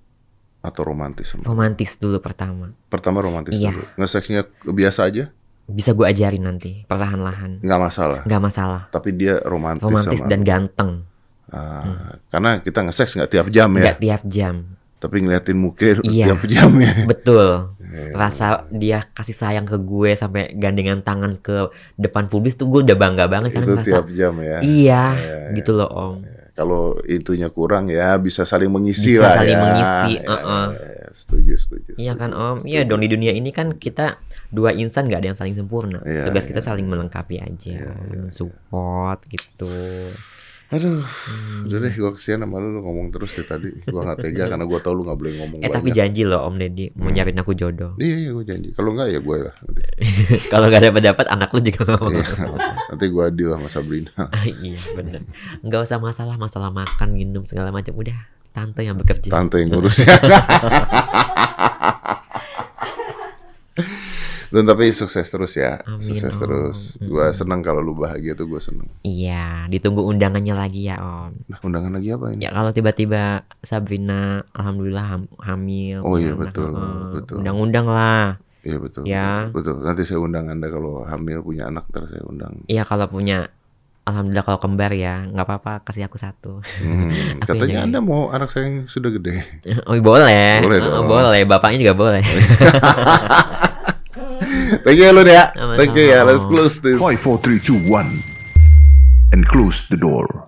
Speaker 2: atau romantis sama?
Speaker 1: Romantis dulu pertama.
Speaker 2: Pertama romantis
Speaker 1: Iya.
Speaker 2: dulu. Ngeseksnya biasa aja,
Speaker 1: Bisa gue ajarin nanti perlahan-lahan.
Speaker 2: nggak masalah.
Speaker 1: Nggak masalah.
Speaker 2: Tapi dia romantis,
Speaker 1: Romantis
Speaker 2: sama
Speaker 1: dan ganteng.
Speaker 2: Ah, Karena kita nge-sex nggak tiap jam ya,
Speaker 1: nggak tiap jam
Speaker 2: tapi ngeliatin muka
Speaker 1: Iya.
Speaker 2: tiap jam ya.
Speaker 1: Betul.
Speaker 2: Iya.
Speaker 1: Rasa dia kasih sayang ke gue sampai gandengan tangan ke depan publis tuh gue udah bangga banget karena
Speaker 2: Itu
Speaker 1: ngerasa
Speaker 2: tiap jam ya.
Speaker 1: kan iya
Speaker 2: Iya, iya.
Speaker 1: gitu loh om.
Speaker 2: Kalau intunya kurang ya bisa saling mengisi
Speaker 1: Bisa
Speaker 2: lah
Speaker 1: saling
Speaker 2: ya.
Speaker 1: mengisi,
Speaker 2: Ya,
Speaker 1: uh-uh.
Speaker 2: ya, ya. Setuju, setuju.
Speaker 1: Iya
Speaker 2: setuju,
Speaker 1: kan om. Iya
Speaker 2: setuju.
Speaker 1: dong di dunia ini kan kita dua insan nggak ada yang saling sempurna.
Speaker 2: Iya,
Speaker 1: Tugas
Speaker 2: iya.
Speaker 1: kita saling melengkapi aja, support gitu.
Speaker 2: Aduh,
Speaker 1: Hmm.
Speaker 2: udah deh gue kesian sama lu, lu ngomong terus deh tadi. Gua nggak tega karena gua tau lu nggak boleh ngomong
Speaker 1: Eh tapi
Speaker 2: banyak. Hmm.
Speaker 1: janji loh om Deddy mau nyariin aku jodoh.
Speaker 2: Iya, iya gue janji. Kalau nggak ya gue lah. Nanti,
Speaker 1: Kalau nggak dapat dapat anak lu juga nggak mau.
Speaker 2: Iya. nanti gue deal sama Sabrina.
Speaker 1: iya bener. Nggak usah masalah masalah makan minum segala macam udah tante yang bekerja.
Speaker 2: Tante yang ngurus ya. Dan tapi sukses terus ya,
Speaker 1: Amin,
Speaker 2: sukses
Speaker 1: Om. Hmm.
Speaker 2: terus. Gua seneng kalau lu bahagia tuh gue seneng.
Speaker 1: Iya, ditunggu undangannya lagi ya Om.
Speaker 2: Nah, undangan lagi apa ini?
Speaker 1: Ya kalau tiba-tiba Sabrina, alhamdulillah ham- hamil.
Speaker 2: Oh
Speaker 1: punya
Speaker 2: iya,
Speaker 1: anak,
Speaker 2: betul,
Speaker 1: heeh.
Speaker 2: betul.
Speaker 1: Undang-undang lah.
Speaker 2: Iya betul.
Speaker 1: Ya.
Speaker 2: Betul. Nanti saya undang anda kalau hamil punya anak ntar saya undang.
Speaker 1: Iya kalau punya, alhamdulillah kalau kembar ya, nggak apa-apa kasih aku satu.
Speaker 2: Hmm,
Speaker 1: Aku
Speaker 2: katanya
Speaker 1: yang
Speaker 2: anda mau anak saya yang sudah gede.
Speaker 1: oh boleh,
Speaker 2: Boleh
Speaker 1: Heeh,
Speaker 2: dong.
Speaker 1: boleh. Bapaknya juga boleh.
Speaker 2: Thank you lu ya.
Speaker 1: Sama-sama.
Speaker 2: Thank you ya. Let's close this.
Speaker 3: 5, 4, 3, 2, 1. And close the door.